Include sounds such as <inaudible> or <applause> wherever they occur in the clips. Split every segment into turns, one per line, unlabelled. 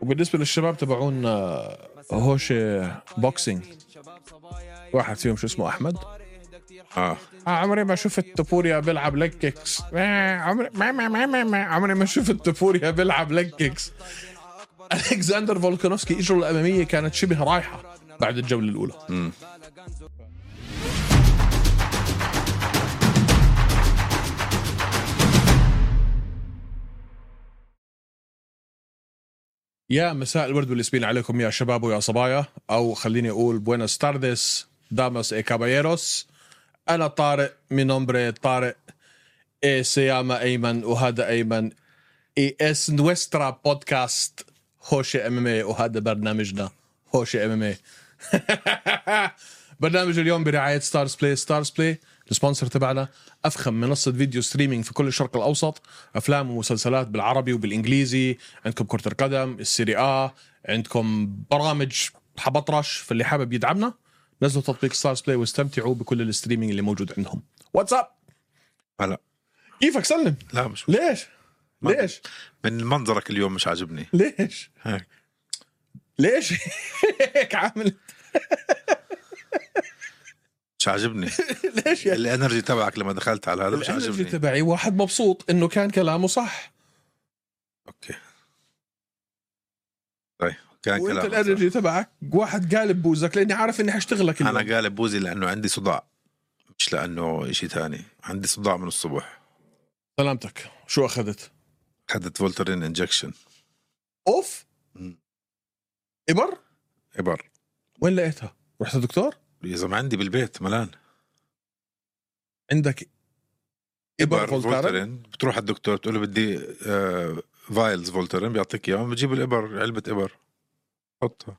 وبالنسبه للشباب تبعون هوش بوكسينج واحد فيهم شو اسمه احمد
اه
آه عمري ما شفت تبوريا بيلعب ليج كيكس ما عمري ما ما ما ما, ما. عمري ما شفت تبوريا بيلعب ليج كيكس الكساندر فولكانوفسكي اجره الاماميه كانت شبه رايحه بعد الجوله الاولى يا مساء الورد والياسمين عليكم يا شباب ويا صبايا او خليني اقول بوينس تاردس داماس اي كابايروس انا طارق من نومبري طارق اي سياما ايمن وهذا ايمن اي اس نوسترا بودكاست هوشي ام ام اي وهذا برنامجنا هوشي إيه. ام ام اي برنامج اليوم برعايه ستارز بلاي ستارز بلاي السبونسر تبعنا افخم منصه فيديو ستريمينج في كل الشرق الاوسط افلام ومسلسلات بالعربي وبالانجليزي عندكم كره القدم السيري اه عندكم برامج حبطرش فاللي حابب يدعمنا نزلوا تطبيق ستارز بلاي واستمتعوا بكل الستريمينج اللي موجود عندهم واتساب
هلا
كيفك سلم
لا مش
ليش
ما-
ليش
من منظرك اليوم مش عاجبني
ليش
هيك
ليش <laughs> هيك عامل
مش <laughs> عاجبني
ليش يا
الانرجي تبعك لما دخلت على هذا مش
الانرجي
عاجبني
تبعي واحد مبسوط انه كان كلامه صح
اوكي طيب كان
وانت
كلام
الانرجي تبعك واحد قالب بوزك لاني عارف اني حشتغلك اليوم
انا قالب بوزي لانه عندي صداع مش لانه شيء ثاني عندي صداع من الصبح
سلامتك شو اخذت
اخذت فولترين انجكشن
اوف
مم.
ابر
ابر
وين لقيتها رحت الدكتور
يا زلمه عندي بالبيت ملان
عندك ابر فولتارين
فولترين بتروح على الدكتور بتقول له بدي آه فايلز فولترين بيعطيك اياهم بتجيب الابر علبه ابر حطها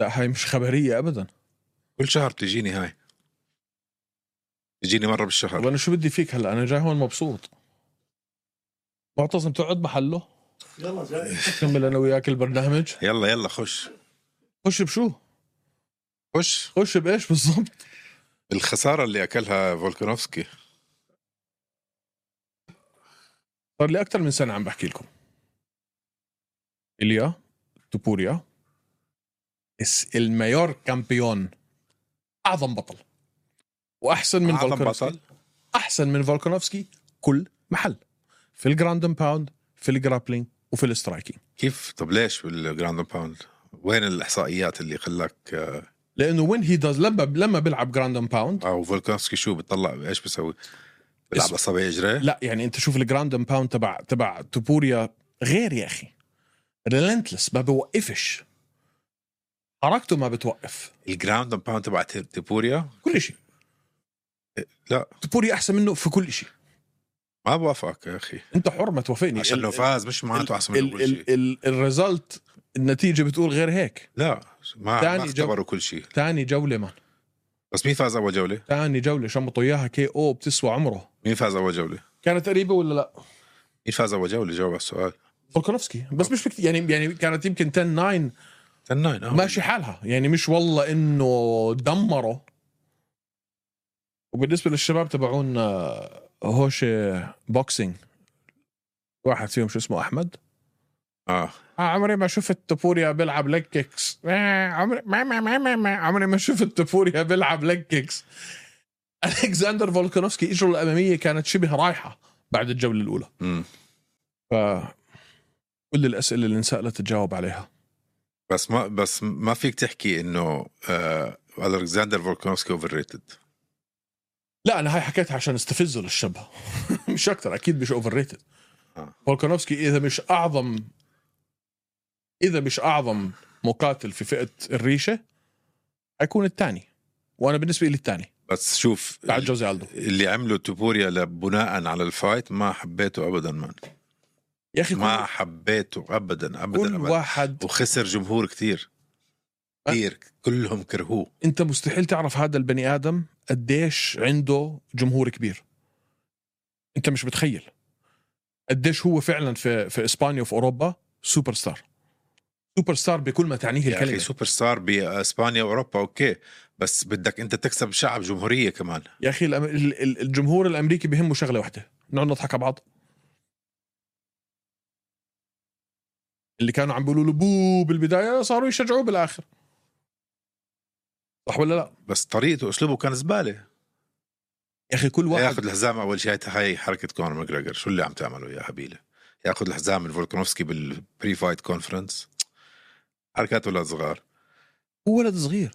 لا هاي مش خبريه ابدا
كل شهر بتجيني هاي بتجيني مره
طب
بالشهر
انا شو بدي فيك هلا انا جاي هون مبسوط معتصم تقعد محله
يلا جاي
نكمل انا وياك البرنامج
يلا يلا خش
خش بشو
خش
خش بايش بالضبط
الخساره اللي اكلها فولكانوفسكي
صار لي اكثر من سنه عم بحكي لكم اليا توبوريا اس المايور كامبيون اعظم بطل واحسن من
أعظم
فولكانوفسكي
بطل
احسن من فولكانوفسكي كل محل في الجراند أند باوند في الجرابلينج وفي الاسترايكينج
كيف طب ليش بالجراند باوند وين الاحصائيات اللي خلاك آه،
لانه وين هي داز لما لما بيلعب جراند أند باوند
او فولكانوفسكي شو بتطلع ايش بيسوي بيلعب
اسم-
اصابع اجريه
لا يعني انت شوف الجراند أند باوند تبع تبع توبوريا غير يا اخي ريلنتلس ما بوقفش حركته ما بتوقف
الجراوند أند باوند تبع تي- تيبوريا
كل شيء
إيه، لا
توبوريا احسن منه في كل شيء
ما بوافقك يا اخي
انت حر ما توافقني
عشان لو فاز مش معناته احسن منه كل شيء
الريزلت النتيجه بتقول غير هيك
لا ما ما
تاني جو-
اختبروا كل شيء
ثاني جوله مان
بس مين فاز اول جوله؟
ثاني جوله شمطوا اياها كي او بتسوى عمره
مين فاز اول جوله؟
كانت قريبه ولا لا؟
مين فاز اول جوله؟ جاوب على السؤال
فولكانوفسكي بس مش فكتير يعني يعني كانت يمكن 10 9
تناين آه.
ماشي حالها يعني مش والله انه دمره وبالنسبه للشباب تبعون آه، هوش آه، بوكسينج واحد فيهم شو اسمه احمد
اه
آه، عمري ما شفت تبوريا بيلعب ليج كيكس آه، عمري ما ما ما ما, ما. عمري ما شفت تبوريا بيلعب ليج كيكس الكساندر فولكانوفسكي اجره الاماميه كانت شبه رايحه بعد الجوله الاولى
مم.
ف كل الاسئله اللي انسالت تجاوب عليها
بس ما بس ما فيك تحكي انه آه الكساندر فولكانوفسكي اوفر ريتد
لا انا هاي حكيتها عشان استفزه للشب <laughs> مش اكثر اكيد مش اوفر ريتد
آه.
فولكانوفسكي اذا مش اعظم اذا مش اعظم مقاتل في فئه الريشه حيكون الثاني وانا بالنسبه لي الثاني
بس شوف
بعد جوزي الدو
اللي عمله توبوريا ل- بناء على الفايت ما حبيته ابدا مان
يا اخي
ما
كل,
حبيته ابدا ابدا
كل
ابدا
واحد
وخسر جمهور كثير
أه.
كثير كلهم كرهوه
انت مستحيل تعرف هذا البني ادم قديش عنده جمهور كبير انت مش متخيل قديش هو فعلا في في اسبانيا وفي اوروبا سوبر ستار سوبر ستار بكل ما تعنيه
يا اخي
الكلمه
سوبر ستار باسبانيا واوروبا اوكي بس بدك انت تكسب شعب جمهوريه كمان
يا اخي الأم... ال- ال- الجمهور الامريكي بهمه شغله واحده نقعد نضحك على بعض اللي كانوا عم بيقولوا له بو بالبدايه صاروا يشجعوه بالاخر صح ولا لا؟
بس طريقته واسلوبه كان زباله
يا اخي كل واحد
ياخذ الحزام اول شيء هاي حركه كونر ماجريجر شو اللي عم تعمله يا حبيله ياخذ الحزام من فولكنوفسكي بالبري فايت كونفرنس حركات ولاد صغار
هو ولد صغير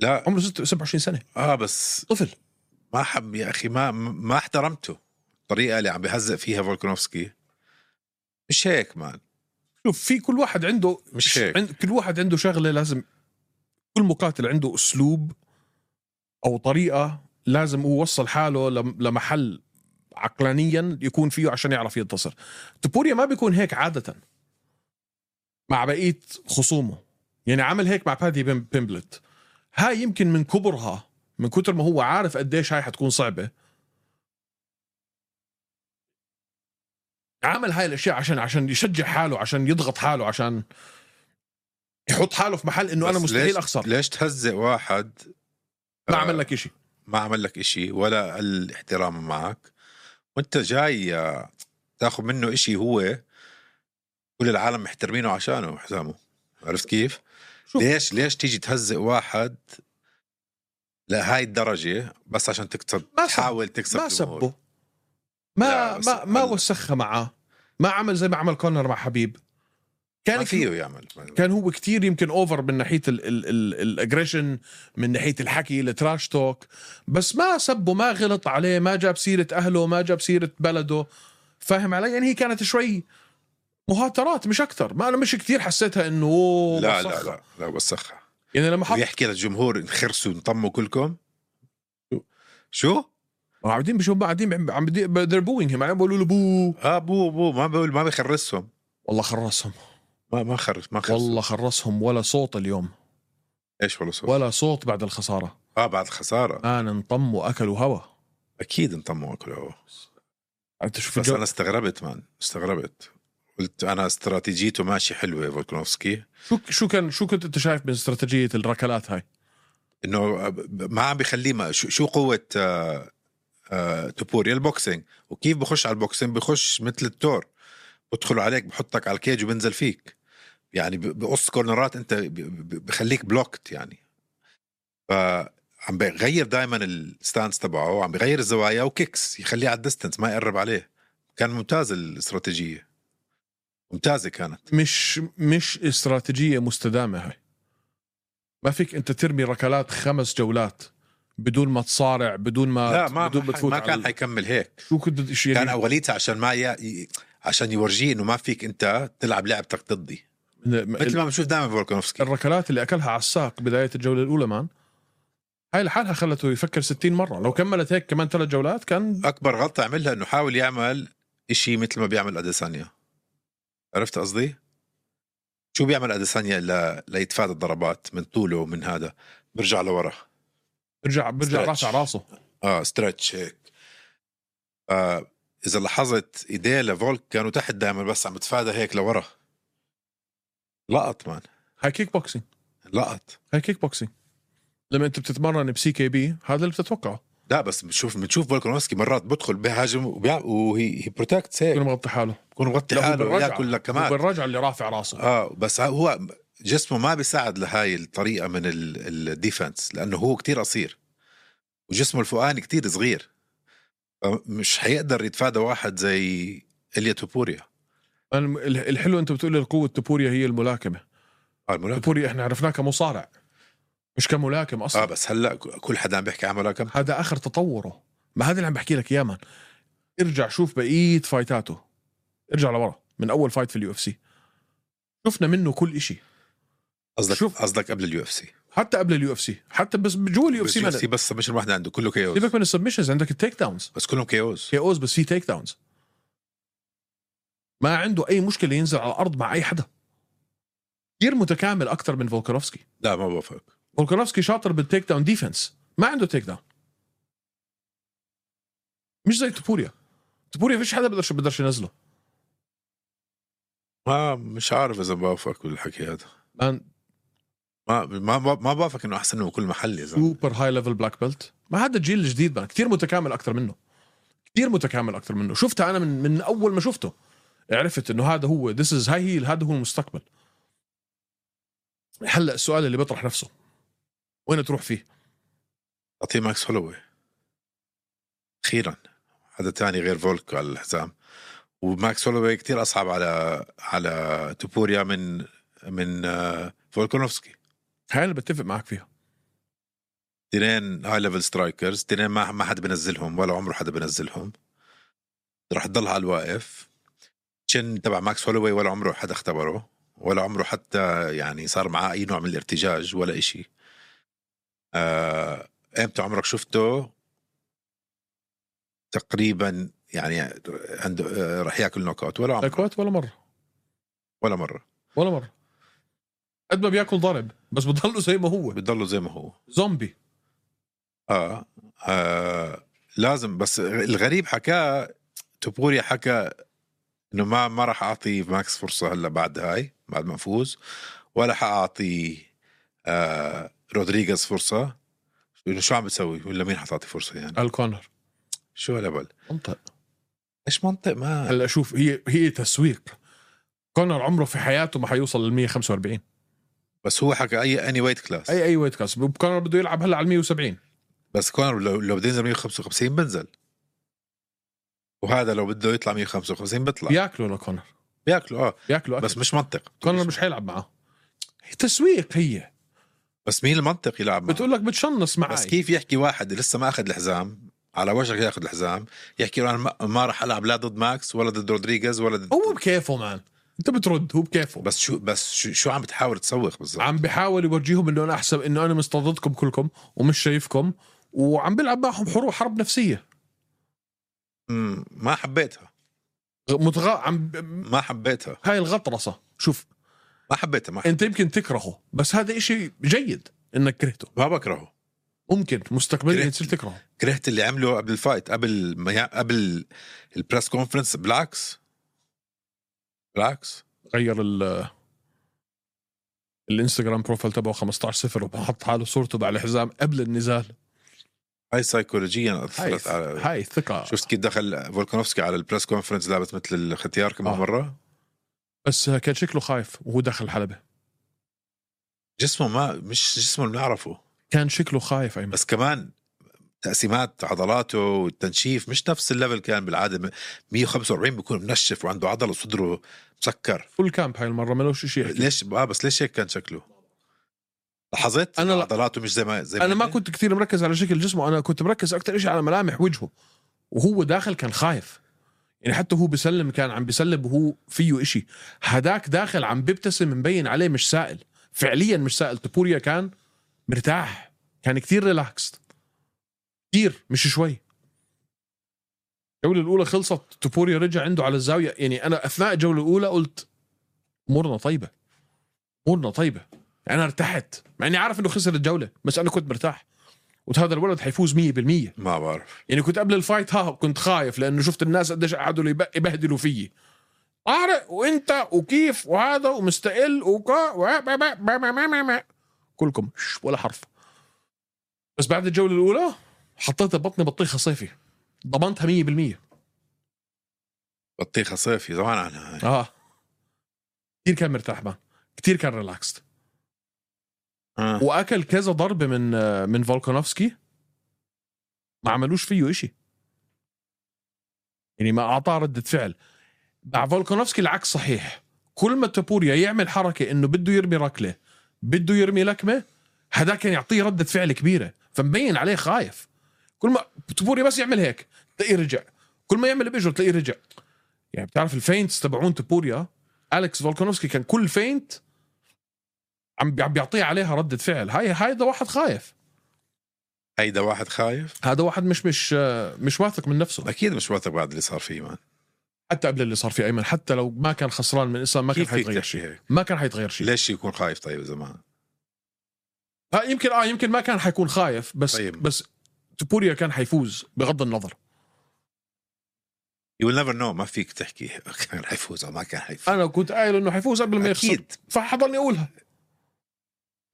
لا
عمره ست- 27 سنه
اه بس
طفل
ما حب يا اخي ما ما احترمته الطريقه اللي عم بهزق فيها فولكنوفسكي مش هيك مان
شوف في كل واحد عنده
مش هيك.
عند كل واحد عنده شغله لازم كل مقاتل عنده اسلوب او طريقه لازم هو يوصل حاله لم- لمحل عقلانيا يكون فيه عشان يعرف ينتصر تبوريا ما بيكون هيك عاده مع بقيه خصومه يعني عمل هيك مع بادي بيم- بيمبلت هاي يمكن من كبرها من كتر ما هو عارف قديش هاي حتكون صعبه عمل هاي الاشياء عشان عشان يشجع حاله عشان يضغط حاله عشان يحط حاله في محل انه انا
بس
مستحيل
ليش-
اخسر
ليش تهزئ واحد
ما
آه،
عمل لك شيء
ما عمل لك إشي ولا قل احترامه معك وانت جاي آه، تاخذ منه إشي هو كل العالم محترمينه عشانه حزامه عرفت كيف؟
شوف.
ليش ليش تيجي تهزئ واحد لهاي الدرجة بس عشان تكسب
ما سب-
تحاول تكسب
ما
الجمهور؟
سبه
لا،
ما
بس
ما ما
هلا.
وسخها معاه ما عمل زي ما عمل كونر مع حبيب كان
ما فيه يعمل
كان هو كتير يمكن اوفر من ناحيه الاجريشن من ناحيه الحكي التراش توك بس ما سبه ما غلط عليه ما جاب سيره اهله ما جاب سيره بلده فاهم علي يعني هي كانت شوي مهاترات مش اكثر ما انا مش كتير حسيتها انه أوه
لا لا
وسخها.
لا لا وسخها
يعني لما حط
ويحكي للجمهور انخرسوا انطموا كلكم شو؟ شو؟
ما قاعدين بشوف قاعدين عم بدي they're booing him عم بيقولوا له بو
اه بو بو ما بقول ما بخرسهم
والله خرسهم
ما ما خرس ما خرس
والله خرسهم ولا صوت اليوم
ايش والله صوت
ولا صوت بعد الخساره
اه بعد الخساره
كان انطموا واكلوا هوا
اكيد انطموا اكل هوا
انت شوف
بس
الجو
انا استغربت مان استغربت قلت انا استراتيجيته ماشي حلوه فولكنوفسكي
شو شو كان شو كنت انت شايف من استراتيجيه الركلات هاي
انه ما عم بخليه ما شو, شو قوه آه، آه، توبوريا البوكسينج وكيف بخش على البوكسينج بخش مثل التور بدخل عليك بحطك على الكيج وبنزل فيك يعني ب- بقص كورنرات انت ب- ب- بخليك بلوكت يعني فعم بغير دائما الستانس تبعه عم بغير الزوايا وكيكس يخليه على الديستنس ما يقرب عليه كان ممتاز الاستراتيجيه ممتازه كانت
مش مش استراتيجيه مستدامه هاي ما فيك انت ترمي ركلات خمس جولات بدون ما تصارع بدون ما
لا ما
آه، بدون ما تفوت
ما
على
كان
ال-
حيكمل هيك
شو كنت شو
كان
يعني
اوليتها عشان ما ي... ي- عشان يورجيه انه ما فيك انت تلعب لعبتك ضدي مثل
ال-
ما بنشوف دائما فولكنوفسكي
الركلات اللي اكلها على الساق بدايه الجوله الاولى مان هاي لحالها خلته يفكر 60 مره لو كملت هيك كمان ثلاث جولات كان
اكبر غلطه عملها انه حاول يعمل إشي مثل ما بيعمل اديسانيا عرفت قصدي؟ شو بيعمل اديسانيا ل... ليتفادى الضربات من طوله ومن هذا برجع لورا
برجع برجع
stretch.
راس على راسه
اه ستريتش هيك آه اذا لاحظت ايديه لفولك كانوا تحت دائما بس عم بتفادى هيك لورا لقط مان
هاي كيك بوكسينج
لقط
هاي كيك بوكسينج لما انت بتتمرن بسي كي بي هذا اللي بتتوقعه
لا بس بنشوف بنشوف فولكنوفسكي مرات بدخل بهاجم وبيع وهي هي بروتكت
كل
هيك
مغطي حاله
بكون مغطي
لا، هو
حاله
بالرجعة.
ياكل لك كمان
بالرجع اللي رافع راسه
اه بس هو جسمه ما بيساعد لهاي الطريقه من الديفنس لانه هو كتير قصير وجسمه الفوقاني كتير صغير مش حيقدر يتفادى واحد زي اليا توبوريا
أنا ال- الحلو انت بتقول لي قوه تبوريا هي الملاكمه
آه, الملاكم.
تبوريا احنا عرفناه كمصارع مش كملاكم
اه
اصلا
بس هلا كل حدا عم بيحكي عن ملاكم
هذا اخر تطوره ما هذا اللي عم بحكي لك اياه مان. ارجع شوف بقيه فايتاته ارجع لورا من اول فايت في اليو اف سي شفنا منه كل إشي
قصدك
شوف.
قصدك قبل اليو اف سي
حتى قبل اليو اف سي حتى بس جوا اليو اف
بس, UFC
سي
بس مش الواحد عنده كله كيوز
سيبك من السبمشنز عندك التيك داونز
بس كلهم كيوز
كي اوز بس في تيك داونز ما عنده اي مشكله ينزل على الارض مع اي حدا كثير متكامل اكثر من فولكانوفسكي
لا ما بوافق
فولكانوفسكي شاطر بالتيك داون ديفنس ما عنده تيك داون مش زي تبوريا تبوريا فيش حدا بيقدرش بيقدرش ينزله
ما مش عارف اذا بوافق بالحكي هذا
مان
ما ما ما بوافق انه احسن من كل محل يا زلمه
سوبر هاي ليفل بلاك بيلت ما هذا الجيل الجديد مان كثير متكامل اكثر منه كثير متكامل اكثر منه شفتها انا من من اول ما شفته عرفت انه هذا هو ذس از هاي هي هذا هو المستقبل هلا السؤال اللي بيطرح نفسه وين تروح فيه؟
اعطيه ماكس هولوي اخيرا حدا تاني غير فولك على الحزام وماكس هولوي كتير اصعب على على توبوريا من من آه، فولكونوفسكي
هاي انا بتفق معك فيها
تنين هاي ليفل سترايكرز تنين ما ما حدا بنزلهم ولا عمره حدا بنزلهم رح تضلها على الواقف تشن تبع ماكس هولوي ولا عمره حدا اختبره ولا عمره حتى يعني صار معاه اي نوع من الارتجاج ولا اشي آه، امتى عمرك شفته تقريبا يعني عنده آه، رح ياكل نوك اوت ولا عمره
اكوات ولا مره
ولا مره
ولا مره قد ما بياكل ضرب بس بضله زي ما هو
بتضله زي ما هو
زومبي
آه, اه لازم بس الغريب حكاه توبوريا حكى انه ما ما راح اعطي ماكس فرصه هلا بعد هاي بعد ما افوز ولا حاعطي آه رودريغيز فرصه انه شو عم بتسوي ولا مين حتعطي فرصه يعني
الكونر
شو هالهبل
منطق
ايش منطق ما
هلا شوف هي هي تسويق كونر عمره في حياته ما حيوصل لل 145
بس هو حكى اي اني ويت كلاس
اي اي ويت كلاس كونر بده يلعب هلا على 170
بس كونر لو لو بده ينزل 155 بنزل وهذا لو بده يطلع 155 بيطلع
بياكلوا لكونر
بياكله اه
بياكلوا أكل.
بس
بس
مش منطق
كونر مش حيلعب معه هي تسويق هي
بس مين المنطق يلعب معه؟
بتقول لك بتشنص معي
بس كيف يحكي واحد لسه ما اخذ الحزام على وشك ياخذ الحزام يحكي له انا ما- ما راح العب لا ضد ماكس ولا ضد رودريغيز ولا ضد
هو بكيفه مان انت بترد هو بكيفه
بس شو بس شو, شو عم بتحاول تسوق بالضبط
عم بحاول يورجيهم انه انا احسب انه انا مستضدكم كلكم ومش شايفكم وعم بلعب معهم حروب حرب نفسيه
مم، ما حبيتها
متغ... عم ب-
ما حبيتها
هاي الغطرسه شوف
ما حبيتها ما حبيتها.
انت يمكن تكرهه بس هذا إشي جيد انك كرهته
ما بكرهه
ممكن مستقبليا
كرهت.
تصير تكرهه
كرهت اللي عمله قبل الفايت قبل ما يع- قبل البريس كونفرنس بالعكس بالعكس
غير ال الانستغرام بروفايل تبعه 15 صفر وحط حاله صورته على حزام قبل النزال
هاي سيكولوجيا
هاي
اثرت على
هاي الثقه
شفت كيف دخل فولكانوفسكي على البريس كونفرنس لابس مثل الختيار كمان
آه.
مره
بس كان شكله خايف وهو دخل الحلبه
جسمه ما مش جسمه اللي بنعرفه
كان شكله خايف ايمن
بس كمان تقسيمات عضلاته والتنشيف مش نفس الليفل كان بالعاده 145 بيكون منشف وعنده عضله صدره مسكر
فول كامب هاي المره ما لهوش شيء يحكي
ليش اه بس ليش هيك كان شكله لاحظت
أنا
انا
لا-
عضلاته مش زي ما زي
انا ما
هي؟
كنت كثير مركز على شكل جسمه انا كنت مركز اكثر شيء على ملامح وجهه وهو داخل كان خايف يعني حتى هو بيسلم كان عم بيسلم وهو فيه إشي هداك داخل عم بيبتسم مبين عليه مش سائل فعليا مش سائل تبوريا كان مرتاح كان كثير ريلاكست كثير مش شوي الجولة الأولى خلصت تبوريا رجع عنده على الزاوية يعني أنا أثناء الجولة الأولى قلت أمورنا طيبة أمورنا طيبة يعني أنا ارتحت مع إني عارف إنه خسر الجولة بس أنا كنت مرتاح قلت هذا الولد حيفوز 100%
ما بعرف
يعني كنت قبل الفايت ها كنت خايف لانه شفت الناس قديش قعدوا يب- يبهدلوا فيي طارق وانت وكيف وهذا ومستقل وكا و- با- با- با- با- با- با- با. كلكم ش- ولا حرف بس بعد الجوله الاولى حطيت بطني بطيخه صيفي ضمنتها 100%
بطيخه صيفي زمان عنها هاي.
اه كثير كان مرتاح مان كثير كان ريلاكست
آه.
واكل كذا ضربه من آه، من فولكانوفسكي ما عملوش فيه إشي يعني ما اعطاه رده فعل مع فولكانوفسكي العكس صحيح كل ما تابوريا يعمل حركه انه بده يرمي ركله بده يرمي لكمه هذا كان يعطيه رده فعل كبيره فمبين عليه خايف كل ما تابوريا بس يعمل هيك تلاقيه رجع كل ما يعمل باجره تلاقيه رجع يعني بتعرف الفينتس تبعون تابوريا الكس فولكانوفسكي كان كل فينت عم عم بيعطيه عليها ردة فعل هاي هيدا واحد خايف
هيدا واحد خايف
هذا واحد مش مش آه، مش واثق من نفسه
اكيد مش واثق بعد اللي صار فيه مان
حتى قبل اللي صار فيه ايمن حتى لو ما كان خسران من اسلام ما كان
كيف فيك
حيتغير شيء
تحكي هيك
ما كان حيتغير شيء
ليش يكون خايف طيب زمان
ها يمكن اه يمكن ما كان حيكون خايف بس
طيب.
بس تبوريا كان حيفوز بغض النظر
يو نيفر نو ما فيك تحكي <laughs> كان حيفوز او ما كان حيفوز
انا كنت قايل انه حيفوز قبل ما يخسر
اكيد
فحضلني اقولها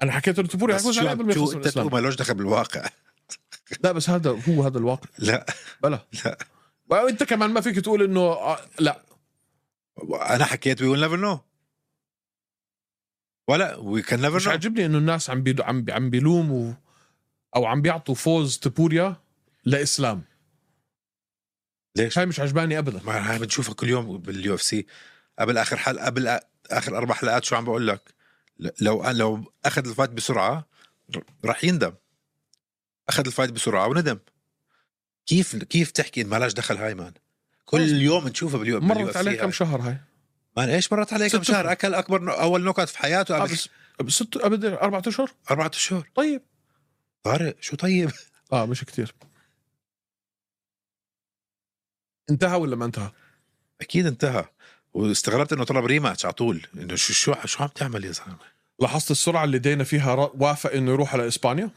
انا حكيت انه تبوريا
بس
حيفوز
شو
عليه قبل
عم
ما
شو
يخسر
انت
الاسلام
تقول مالوش دخل بالواقع
لا بس هذا هو هذا الواقع
لا
بلا
لا
وانت كمان ما فيك تقول انه آه، لا
انا حكيت وي ويل نيفر نو ولا وي كان
مش
نيفر نو
عاجبني انه الناس عم بيد... عم عم بيلوموا او عم بيعطوا فوز تبوريا لاسلام
ليش؟
هاي مش عجباني ابدا
ما هاي بنشوفها كل يوم باليو اف سي قبل اخر حلقه قبل آ- اخر اربع حلقات شو عم بقول لك ل- لو لو اخذ الفايت بسرعه ر- رح يندم اخذ الفايت بسرعه وندم كيف كيف تحكي إن مالهاش دخل هاي مان كل يوم نشوفها باليو باليو اف
مرت
سي
عليه
هاي.
كم شهر هاي
مان ايش مرت عليه
ست
كم شهر
أشهر.
اكل اكبر نو- اول نوك أوت في حياته قبل
آه، بس بست ابد اربع اشهر
اربعة اشهر
طيب
طارق شو طيب
اه مش كتير انتهى ولا ما انتهى؟
اكيد انتهى واستغربت انه طلب ريماتش على طول انه شو شو شو عم تعمل يا زلمه
لاحظت السرعه اللي دينا فيها را- وافق انه يروح على اسبانيا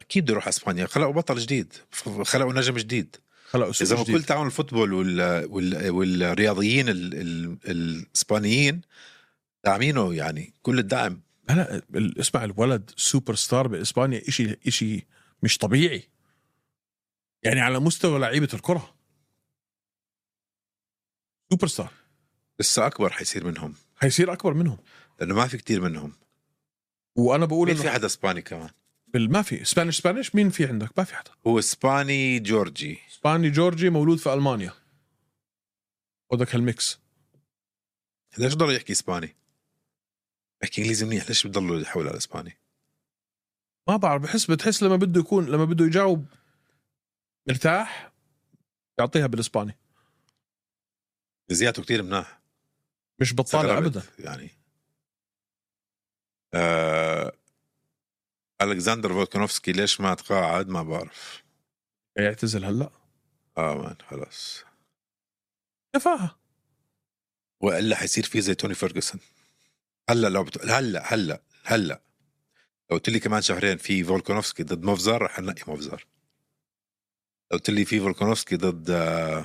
اكيد بده يروح اسبانيا خلقوا بطل جديد ف- خلقوا نجم جديد
خلقوا
اذا
اسلوب
ما كل
جديد
تعاون الفوتبول وال... وال... والرياضيين ال... ال... الاسبانيين داعمينه يعني كل الدعم
هلا ال- اسمع الولد سوبر ستار باسبانيا إشي إشي مش طبيعي يعني على مستوى لعيبه الكره سوبر ستار
لسه اكبر حيصير منهم
حيصير اكبر منهم
لانه ما في كتير منهم
وانا بقول
مين في
انه
حدا اسباني كمان
بال- ما في سبانيش سبانيش مين في عندك ما في حدا
هو اسباني جورجي
اسباني جورجي مولود في المانيا بدك هالميكس
ليش ضل يحكي اسباني يحكي انجليزي منيح ليش بضلوا يحول على الاسباني
ما بعرف بحس بتحس لما بده يكون لما بده يجاوب مرتاح يعطيها بالاسباني
زياته كتير مناح
مش بطاله
استغربت
ابدا
يعني آه... الكسندر فولكانوفسكي ليش ما تقاعد ما بعرف
يعتزل هلا
اه مان خلاص
كفاها
والا حيصير في زي توني فيرجسون هلا لو بت... هلا هلا هلا لو قلت لي كمان شهرين في فولكانوفسكي ضد مفزر رح انقي مفزر لو قلت لي في فولكانوفسكي ضد آه،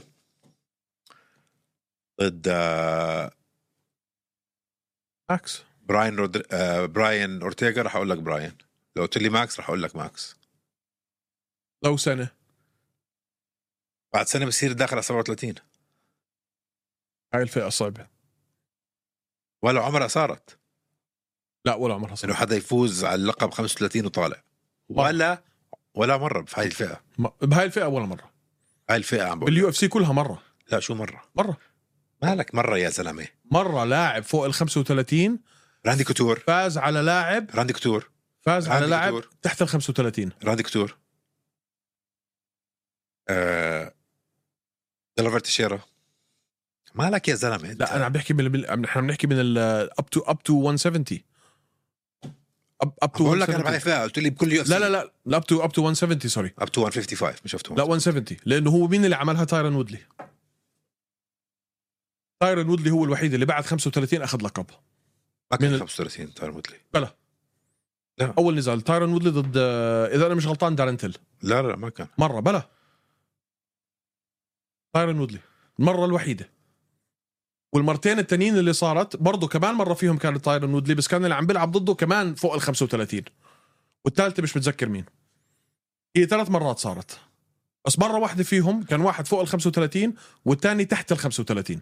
ضد آه،
عكس
براين رودر... آه، براين اورتيغا رح اقول لك براين لو قلت لي ماكس رح اقول لك ماكس
لو سنه
بعد سنه بصير داخل على 37
هاي الفئه صعبه
ولا عمرها صارت
لا ولا عمرها
انه
صار
حدا يفوز على اللقب 35 وطالع ولا ولا مره في هاي الفئه
ما- بهاي الفئه ولا مره
هاي الفئه عم بقول
باليو اف سي كلها مره
لا شو مره
مره
مالك مره يا زلمه
مره لاعب فوق ال 35
راندي كوتور
فاز على لاعب
راندي كوتور
فاز على
عندي
لاعب
دور.
تحت ال 35
راندي كوتور آه... ديلافر تشيرا مالك يا زلمه انت؟
لا انا عم بحكي من من- عم- نحن عم نحكي من اب تو اب تو 170 اب اب
عم
تو
بقول لك انا بهاي الفئه قلت لي بكل يو
لا لا لا لا اب تو اب تو 170 سوري
اب تو 155 مش اب
لا
تو
170 لانه هو مين اللي عملها تايرن وودلي تايرن وودلي هو الوحيد اللي بعد 35 اخذ لقب
ما كان
من-
35 تاير مودلي
اول نزال تايرن وودلي ضد آه، اذا انا مش غلطان دارنتل
لا لا لا، ما كان
مره بلا تايرن وودلي المره الوحيده والمرتين التانيين اللي صارت برضه كمان مره فيهم كان تايرن وودلي بس كان اللي عم بيلعب ضده كمان فوق ال 35 والثالثه مش متذكر مين هي ثلاث مرات صارت بس مره واحده فيهم كان واحد فوق ال 35 والثاني تحت ال 35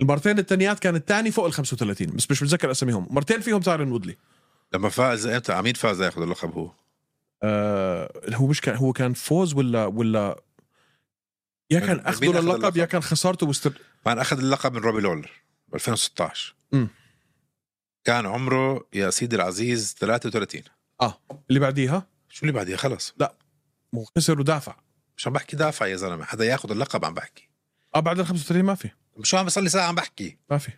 المرتين التانيات كان الثاني فوق ال 35 بس مش متذكر اساميهم مرتين فيهم تايرن وودلي
لما فاز امتى عمين فاز ياخذ اللقب هو
آه هو مش كان هو كان فوز ولا ولا يا
من-
كان
مين
اخذه
أخذ
للقب يا
اللقب؟
كان خسارته واستر
مان اخذ اللقب من روبي لولر ب 2016
أمم.
كان عمره يا سيدي العزيز 33
آه، اللي بعديها
شو اللي بعديها خلص
مو خسر ودافع
مش عم بحكي دافع يا زلمه حدا ياخذ اللقب عم بحكي
اه بعد ال 35 ما في
مش عم بصلي ساعه عم بحكي
ما في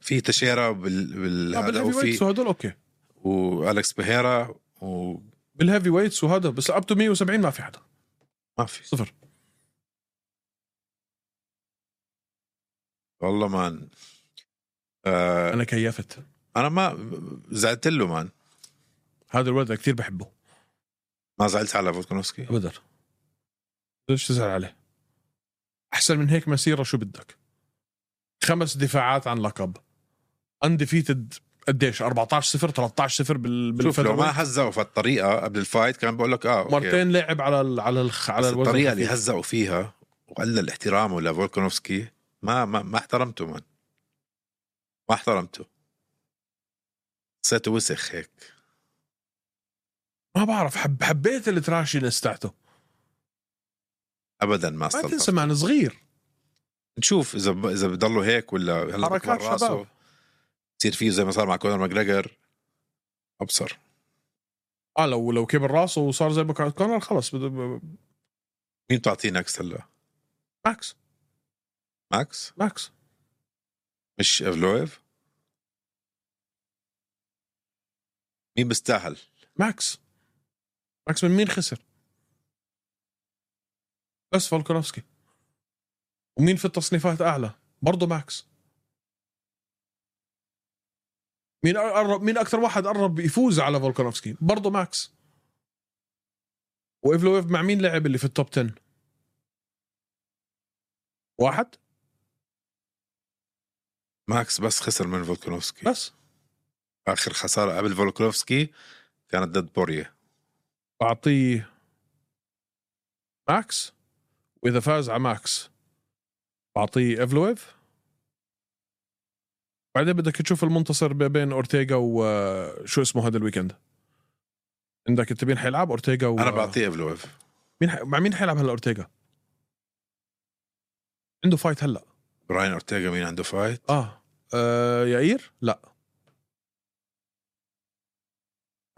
في تشيرا بال بال
اه
هذا
بالهيفي ويتس
وفي
وهدول اوكي
والكس بيهيرا وما
بالهيفي ويتس وهذا بس اب تو 170 ما في حدا
في
صفر
والله مان آه
انا كيفت
انا ما زعلت له مان
هذا الولد أنا كثير بحبه
ما زعلت على فولكانوفسكي
ابدا ليش تزعل عليه احسن من هيك مسيره شو بدك خمس دفاعات عن لقب انديفيتد قديش 14 0 13 0 بال
شوف لو
بالفيدرويت.
ما هزقوا في الطريقه قبل الفايت كان بقول لك اه أوكي.
مرتين لعب على ال على ال على
بس
الوزن
الطريقه اللي
الخفيف.
هزقوا فيها وقلل احترامه لفولكانوفسكي ما ما, ما احترمته مان ما احترمته حسيته وسخ هيك
ما بعرف حب حبيت التراشينس تاعته
ابدا ما
ما
استلطف
تنسى مان صغير
نشوف اذا ب... اذا بضلوا هيك ولا هلا
حركات
بكبر راسه.
شباب.
بصير فيه زي ما صار مع كونر ماجريجر ابصر
اه لو لو كبر راسه وصار زي بوكا كونر خلص بده- ب- ب-
مين بتعطيه نكست هلا
ماكس
ماكس
ماكس
مش افلويف مين بيستاهل
ماكس ماكس من مين خسر؟ بس فولكونوفسكي ومين في التصنيفات اعلى؟ برضه ماكس مين قرب مين اكثر واحد قرب يفوز على فولكانوفسكي برضه ماكس وايفلويف مع مين لعب اللي في التوب 10 واحد
ماكس بس خسر من فولكنوفسكي
بس
اخر خساره قبل فولكنوفسكي كانت ضد بوريه
بعطيه ماكس واذا فاز على ماكس بعطيه افلويف بعدين بدك تشوف المنتصر ب- بين اورتيغا وشو اسمه هذا الويكند عندك انت مين حيلعب اورتيغا و...
انا بعطيه افلويف
مين ح... مع مين حيلعب هلا اورتيغا عنده فايت هلا
براين اورتيغا مين عنده فايت
اه, آه يائير لا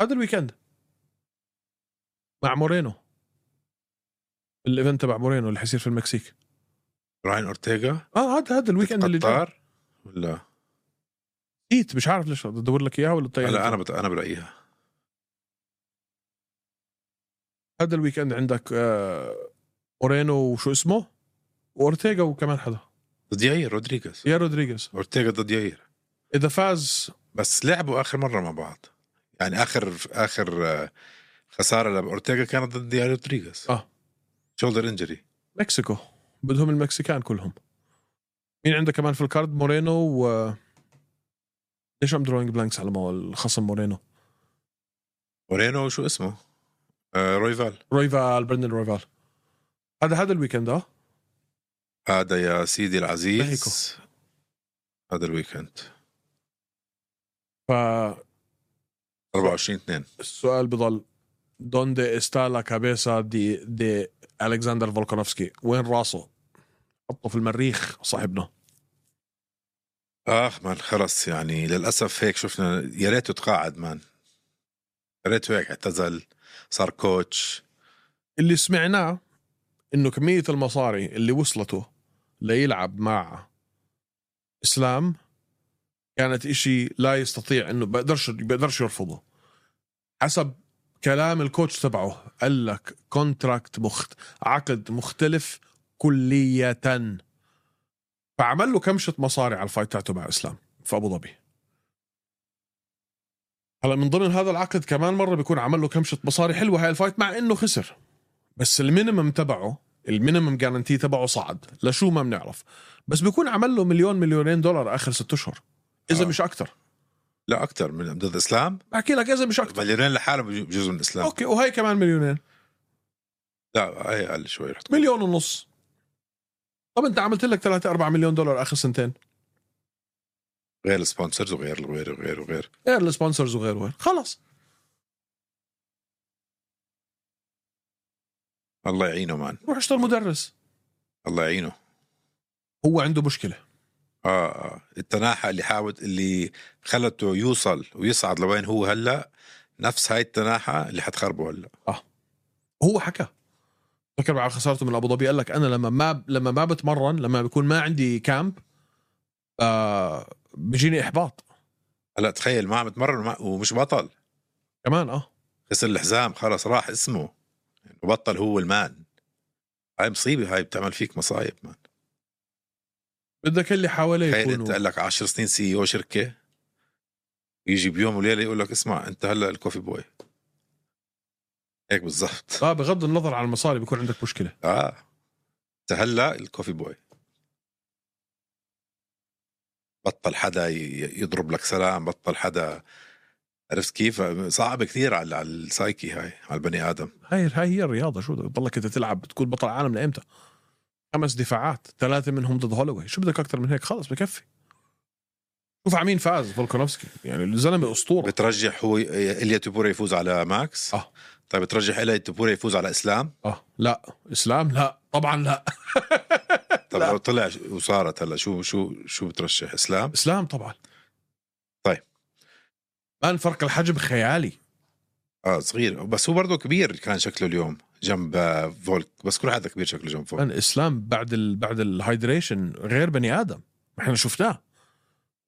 هذا الويكند مع مورينو الايفنت تبع مورينو اللي حيصير في المكسيك
براين اورتيغا
اه هذا هذا الويكند اللي جاي
قطار ولا
جيت مش عارف ليش بدي ادور لك اياها ولا
لا
الطيارة
انا بت... انا برايها
هذا الويكند عندك آه مورينو وشو اسمه واورتيغا وكمان حدا
ضد ياير رودريغيز
يا رودريغيز
اورتيغا ضد ياير
اذا فاز
بس لعبوا اخر مره مع بعض يعني اخر اخر آه، خساره لاورتيغا كانت ضد ياير رودريغيز
آه.
شولدر انجري
مكسيكو بدهم المكسيكان كلهم مين عنده كمان في الكارد مورينو و ليش ام دروينج بلانكس على مو الخصم مورينو
مورينو شو اسمه آه رويفال
رويفال برندن رويفال هذا هذا الويكند اه
هذا يا سيدي
مهيكو.
العزيز هذا الويكند
فالسؤال
24 2
بضل دوندي استالا كابيسا دي دي الكسندر فولكانوفسكي وين راسه؟ حطه في المريخ صاحبنا
اخ مان خلص يعني للاسف هيك شفنا يا ريته تقاعد مان يا ريته هيك اعتزل صار كوتش
اللي سمعناه انه كميه المصاري اللي وصلته ليلعب مع اسلام كانت اشي لا يستطيع انه بقدرش بقدرش يرفضه حسب كلام الكوتش تبعه قال لك كونتراكت مخت عقد مختلف كليا فعمل له كمشة مصاري على الفايت تاعته مع اسلام في ابو ظبي هلا من ضمن هذا العقد كمان مره بيكون عمل له كمشة مصاري حلوه هاي الفايت مع انه خسر بس المينيمم تبعه المينيمم جارانتي تبعه صعد لشو ما بنعرف بس بيكون عمل له مليون مليونين دولار اخر ست اشهر اذا
آه.
آه. مش اكثر
لا اكثر من ضد اسلام
بحكي لك اذا مش اكثر
مليونين لحالهم بجو- بجوز من اسلام
اوكي وهي كمان مليونين
لا هي اقل شوي رح تكون.
مليون ونص طب انت عملت لك 3 4 مليون دولار اخر سنتين
غير السبونسرز وغير وغير وغير وغير
غير السبونسرز إيه وغير وغير خلص
الله يعينه مان
روح اشتغل مدرس
الله يعينه
هو عنده مشكله
اه اه التناحى اللي حاول اللي خلته يوصل ويصعد لوين هو هلا نفس هاي التناحى اللي حتخربه هلا
هو حكى فكر على خسارته من ابو ظبي قال لك انا لما ما لما ما بتمرن لما بيكون ما عندي كامب آه بيجيني احباط
هلا تخيل ما عم يتمرن وما- ومش بطل
كمان اه
خسر الحزام خلص راح اسمه يعني بطل هو المان هاي مصيبه هاي بتعمل فيك مصايب مان
بدك اللي حواليه
تخيل انت
يكونوا
قال لك 10 سنين سي او شركه يجي بيوم وليله يقول لك اسمع انت هلا الكوفي بوي هيك بالضبط
اه بغض النظر عن المصاري بيكون عندك مشكله
اه انت هلا الكوفي بوي بطل حدا ي- يضرب لك سلام بطل حدا عرفت كيف صعب كثير على على السايكي هاي على البني ادم
هاي هاي هي الرياضه شو بدك تضلك انت تلعب تكون بطل عالم لايمتى خمس دفاعات ثلاثه منهم ضد هولوي شو بدك اكثر من هيك خلص بكفي شوف على مين فاز فولكانوفسكي يعني الزلمه اسطوره
بترجح هو إليا تبوري يفوز على ماكس
آه.
طيب بترجح إليا تبوري يفوز على اسلام
اه لا اسلام لا طبعا لا
طب
لا.
لو طلع وصارت هلا شو شو شو بترشح اسلام
اسلام طبعا
طيب.
مان فرق الحجم خيالي
اه صغير بس هو برضه كبير كان شكله اليوم جنب آه، فولك بس كل حدا كبير شكله جنب فولك
مان اسلام بعد ال... بعد الهايدريشن غير بني ادم احنا شفناه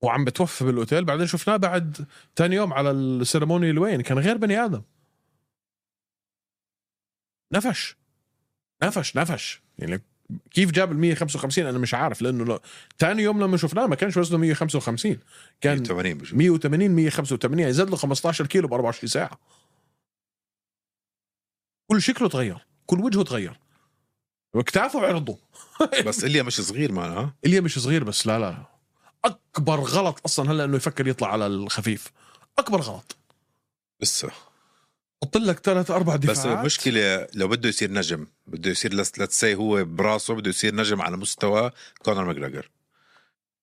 وعم بتوفى بالاوتيل بعدين شفناه بعد تاني يوم على السيرموني الوين كان غير بني ادم نفش نفش نفش يعني كيف جاب ال 155 انا مش عارف لانه لو- تاني يوم لما شفناه ما كانش وزنه 155 كان
80 يعني بشوف
180 185 يعني زاد له 15 كيلو ب 24 ساعه كل شكله تغير كل وجهه تغير واكتافه وعرضه
بس إليا مش صغير ما اه
اليا مش صغير بس لا لا اكبر غلط اصلا هلا انه يفكر يطلع على الخفيف اكبر غلط
لسه
حط لك ثلاث اربع دفاعات
بس المشكله لو بده يصير نجم بده يصير لتس سي هو براسه بده يصير نجم على مستوى كونر ماجراجر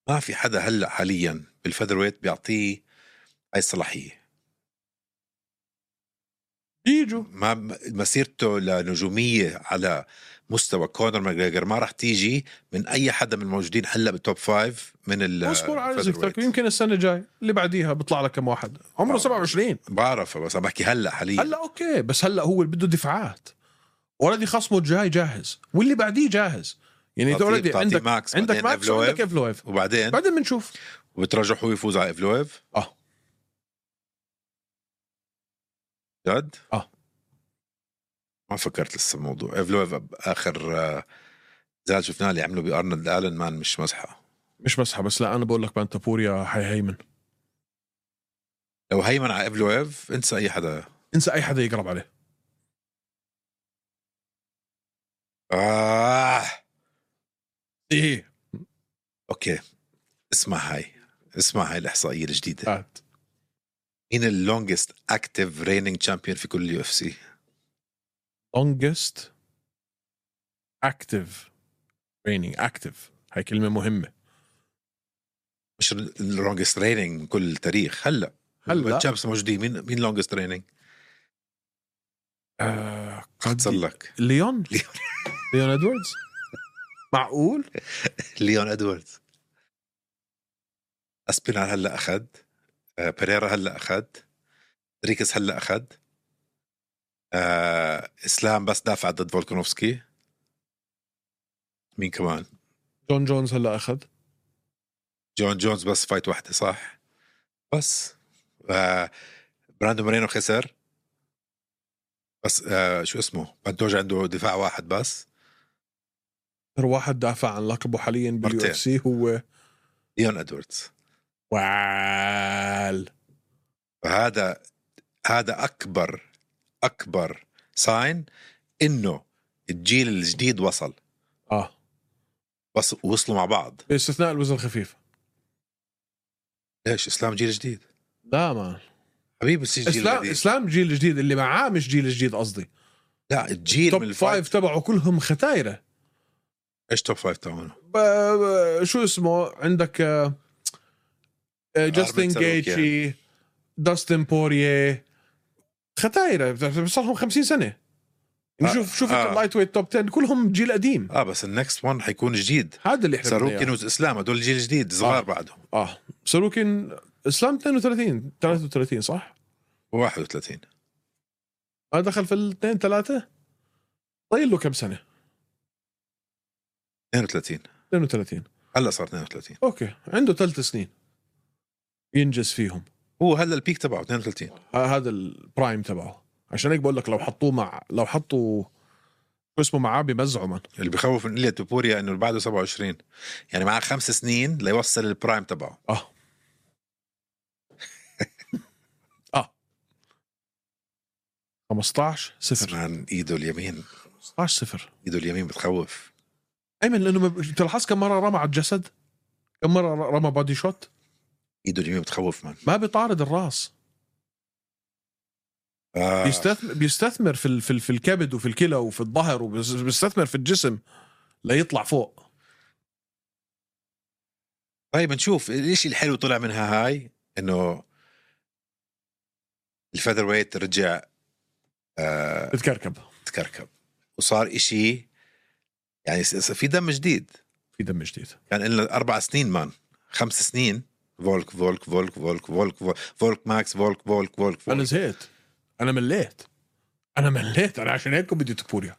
ما في حدا هلا حاليا بالفيذر ويت بيعطيه هاي الصلاحيه
يجوا
ما مسيرته لنجوميه على مستوى كونر ماجراجر ما راح تيجي من اي حدا من الموجودين هلا بالتوب فايف من ال
اصبر على
featherweight.
زفتك يمكن السنه الجاي اللي بعديها بيطلع لك كم واحد عمره
آه. إيه.
27
بعرف بس عم بحكي هلا حاليا
هلا اوكي بس هلا هو اللي بده دفاعات اوريدي خصمه الجاي جاهز واللي بعديه جاهز يعني انت
بتعطيه-
اوريدي
بتعطيه
عندك
ماكس
عندك
بعدين
ماكس
إفلويف،
وعندك افلويف
وبعدين
بعدين بنشوف
بترجح هو يفوز على افلويف
اه
جد؟
آه.
ما فكرت لسه الموضوع افلويف اخر آه، زال شفناه اللي عمله بارنولد الن مان مش مزحه
مش مسحه بس لا انا بقول لك بانتابوريا حيهيمن
لو هيمن على افلويف انسى اي حدا
انسى اي حدا يقرب عليه
آه.
ايه
اوكي اسمع هاي اسمع هاي الاحصائيه الجديده
هات
مين اللونجست اكتف ريننج تشامبيون في كل اليو اف سي
longest active training active هاي كلمه مهمه
مش اللونجست ريننج من كل التاريخ هلا
هلا.
الشامبس موجودين مين مين لونجست ريننج؟
آه <laughs>
اختصر لك
ليون
ليون.
ليون ادواردز معقول
ليون ادواردز اسبينال هلا اخذ آه، بيريرا هلا اخذ ريكس هلا اخذ آه، اسلام بس دافع ضد فولكانوفسكي مين كمان
جون جونز هلا اخذ
جون جونز بس فايت واحدة صح بس آه براندو مورينو خسر بس آه شو اسمه بانتوج عنده دفاع واحد بس
اكثر واحد دافع عن لقبه حاليا باليو
مرتين.
اف سي هو
ليون ادواردز
وال
فهذا هذا اكبر اكبر ساين انه الجيل الجديد وصل
اه
بس وصلوا مع بعض
باستثناء الوزن الخفيف
ليش اسلام جيل جديد
لا ما
حبيبي بس جيل
اسلام
جديد
اسلام جيل جديد اللي معاه مش جيل جديد قصدي
لا الجيل من
توب
الفايف
فايف تبعه كلهم ختايره
ايش توب فايف تاعونه
ب- ب- شو اسمه عندك آه، آه، جاستن
ساروكيان.
جيتشي داستن بوريه ختايره بت- صار لهم 50 سنه
آه،
شوف شوف
آه.
آه. اللايت ويت توب 10 كلهم جيل قديم
اه بس النكست ون حيكون جديد
هذا اللي احنا بدنا
ساروكين
إياه.
واسلام هدول جيل جديد صغار
آه.
بعدهم
اه ساروكين اسلام 32 33 صح؟
31
ما دخل في الاثنين ثلاثه طيل له كم سنه؟
32
32
هلا صار 32
اوكي عنده ثلاث سنين ينجز فيهم
هو هلا البيك تبعه 32
ه- هذا البرايم تبعه عشان هيك بقول لك لو حطوه مع لو حطوا شو اسمه معاه بمزعه من
اللي بخوف من إليا توبوريا انه اللي بعده 27 يعني معاه خمس سنين ليوصل البرايم تبعه
اه اه 15
بس
صفر
عن ايده اليمين
15 صفر
ايده اليمين بتخوف
ايمن لانه ما ب- انت لاحظت كم مره رمى على الجسد؟ كم مره ر- رمى بادي شوت؟
ايده اليمين بتخوف من
ما بيطارد الراس
آه
بيستثمر بيستثمر في ال- في ال- في الكبد وفي الكلى وفي الظهر وبيستثمر في الجسم ليطلع فوق
طيب نشوف الاشي الحلو طلع منها هاي انه الفيذر ويت رجع آه
بتكركب
تكركب وصار اشي يعني س- س- في دم جديد
في دم جديد
كان لنا اربع سنين مان خمس سنين فولك فولك فولك فولك فولك فولك, فولك ماكس فولك فولك فولك,
انا
فولك.
زهقت انا مليت انا مليت انا عشان هيك بدي توبوريا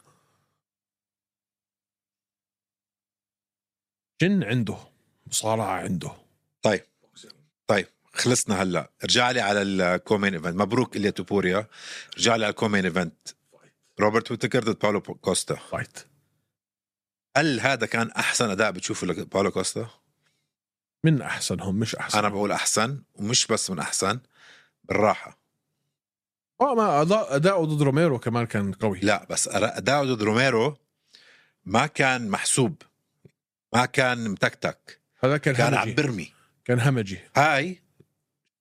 جن عنده مصارعه عنده
خلصنا هلا ارجع لي على الكومين ايفنت مبروك اليا توبوريا ارجع لي على الكومين ايفنت روبرت ويتكر ضد باولو كوستا
فايت
هل هذا كان احسن اداء بتشوفه لباولو كوستا؟
من احسنهم مش احسن
انا بقول احسن ومش بس من احسن بالراحه
اه ما أداء- اداؤه ضد روميرو كمان كان قوي
لا بس اداؤه ضد روميرو ما كان محسوب ما كان متكتك
هذا كان
كان
همجي
عم برمي
كان همجي
هاي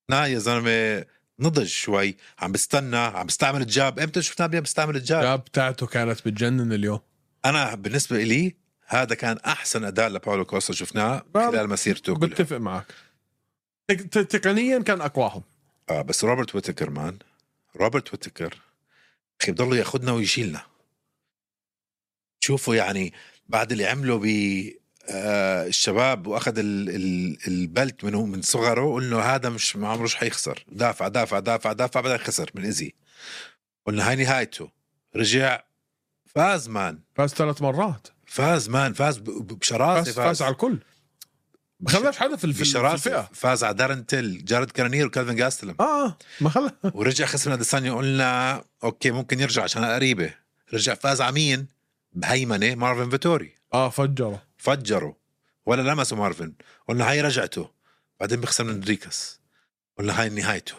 نا يا زلمه نضج شوي عم بستنى عم بستعمل الجاب امتى شفنا بيه بستعمل الجاب
الجاب بتاعته كانت بتجنن اليوم
انا بالنسبه لي هذا كان احسن اداء لباولو كوستا شفناه
بال-
خلال مسيرته كلها
بتفق معك تك- ت- تقنيا كان اقواهم
آه بس روبرت ويتكر مان روبرت ويتكر اخي بضل ياخذنا ويشيلنا شوفوا يعني بعد اللي عمله ب آه، الشباب واخذ ال- ال- البلت منه من صغره قلنا هذا مش ما عمروش حيخسر دافع دافع دافع دافع بعدين خسر من ايزي قلنا هاي نهايته رجع فاز مان
فاز ثلاث مرات
فاز مان فاز ب- ب-
فاز,
بشراسه
فاز على الكل ما خلاش حدا في في- في
بشراسه
الفئه
فاز على دارن تيل جارد كرانير وكالفن جاستلم
اه آه، ما خلى
ورجع خسر من اديسانيا قلنا اوكي ممكن يرجع عشان قريبه رجع فاز على مين؟ بهيمنه مارفن فيتوري
اه فجره
فجره ولا لمسه مارفن قلنا هاي رجعته بعدين بيخسر من ريكاس قلنا هاي نهايته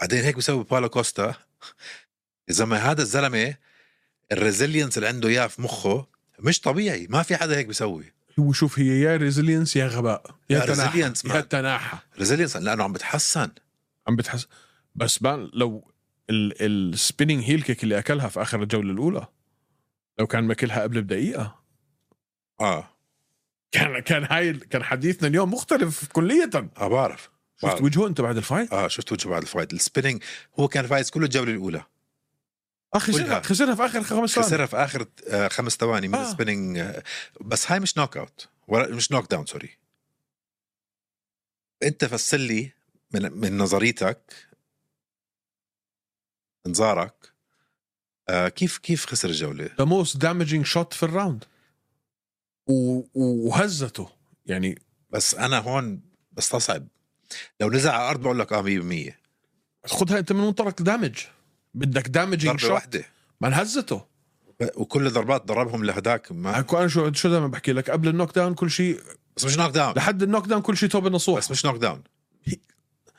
بعدين هيك بيسوي بالو كوستا يا زلمه هذا الزلمه الريزيلينس اللي عنده اياه في مخه مش طبيعي ما في حدا هيك بيسوي
هو شوف هي يا ريزيلينس يا غباء يا
يا
تناحة
resilience،
يا
man.
تناحة
ريزيلينس لانه عم بتحسن
عم بتحس بس بان لو السبيننج هيل كيك اللي اكلها في اخر الجوله الاولى لو كان ماكلها قبل بدقيقه
اه
كان كان هاي كان حديثنا اليوم مختلف كليا
اه بعرف
شفت
بعرف.
وجهه انت بعد الفايت
اه شفت وجهه بعد الفايت السبيننج هو كان فايز كله الجوله الاولى
اه خسرها
كلها.
خسرها في اخر خمس ثواني
خسرها في اخر آه، خمس ثواني من
آه.
آه. سبيننج آه، بس هاي مش نوك اوت ولا مش نوك داون سوري انت فسر لي من من نظريتك انظارك آه كيف كيف خسر الجوله؟
ذا موست دامجينج شوت في الراوند و- وهزته يعني
بس انا هون بستصعب لو نزل على الارض بقول لك اه 100%
خذها انت من منطلق دامج بدك دامجينج
ضربه
شوت
واحده
ما هزته
وكل الضربات ضربهم لهداك ما
انا شو شو دائما بحكي لك قبل النوك داون كل شيء
بس مش نوك داون
لحد النوك داون كل شيء توب النصوح
بس مش نوك داون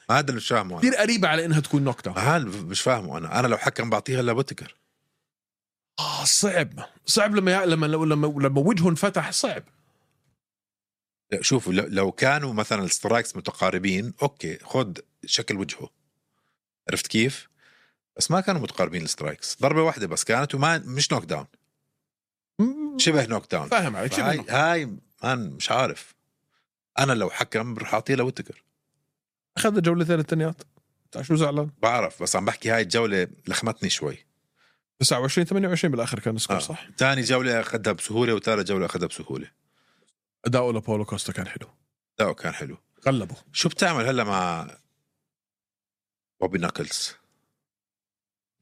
ما هذا اللي مش فاهمه انا
كثير قريبه على انها تكون نوك داون
هذا مش فاهمه انا انا لو حكم بعطيها لبوتكر
آه صعب صعب لما لما لما لما وجهه انفتح صعب
لا، شوفوا لو- لو كانوا مثلا السترايكس متقاربين اوكي خد شكل وجهه عرفت كيف؟ بس ما كانوا متقاربين السترايكس ضربه واحده بس كانت وما مش نوك داون
م-
شبه نوك داون
فاهم عليك شبه
هاي
نوك.
هاي مان مش عارف انا لو حكم رح اعطيه لوتكر
اخذ الجولتين الثانيات أنت شو زعلان
بعرف بس عم بحكي هاي الجوله لخمتني شوي
29 28 بالاخر كان السكور
آه.
صح
ثاني جوله اخذها بسهوله وثالث جوله اخذها بسهوله
اداؤه لبولو كوستا كان حلو
لا كان حلو
غلبه
شو بتعمل هلا مع بوبي ناكلز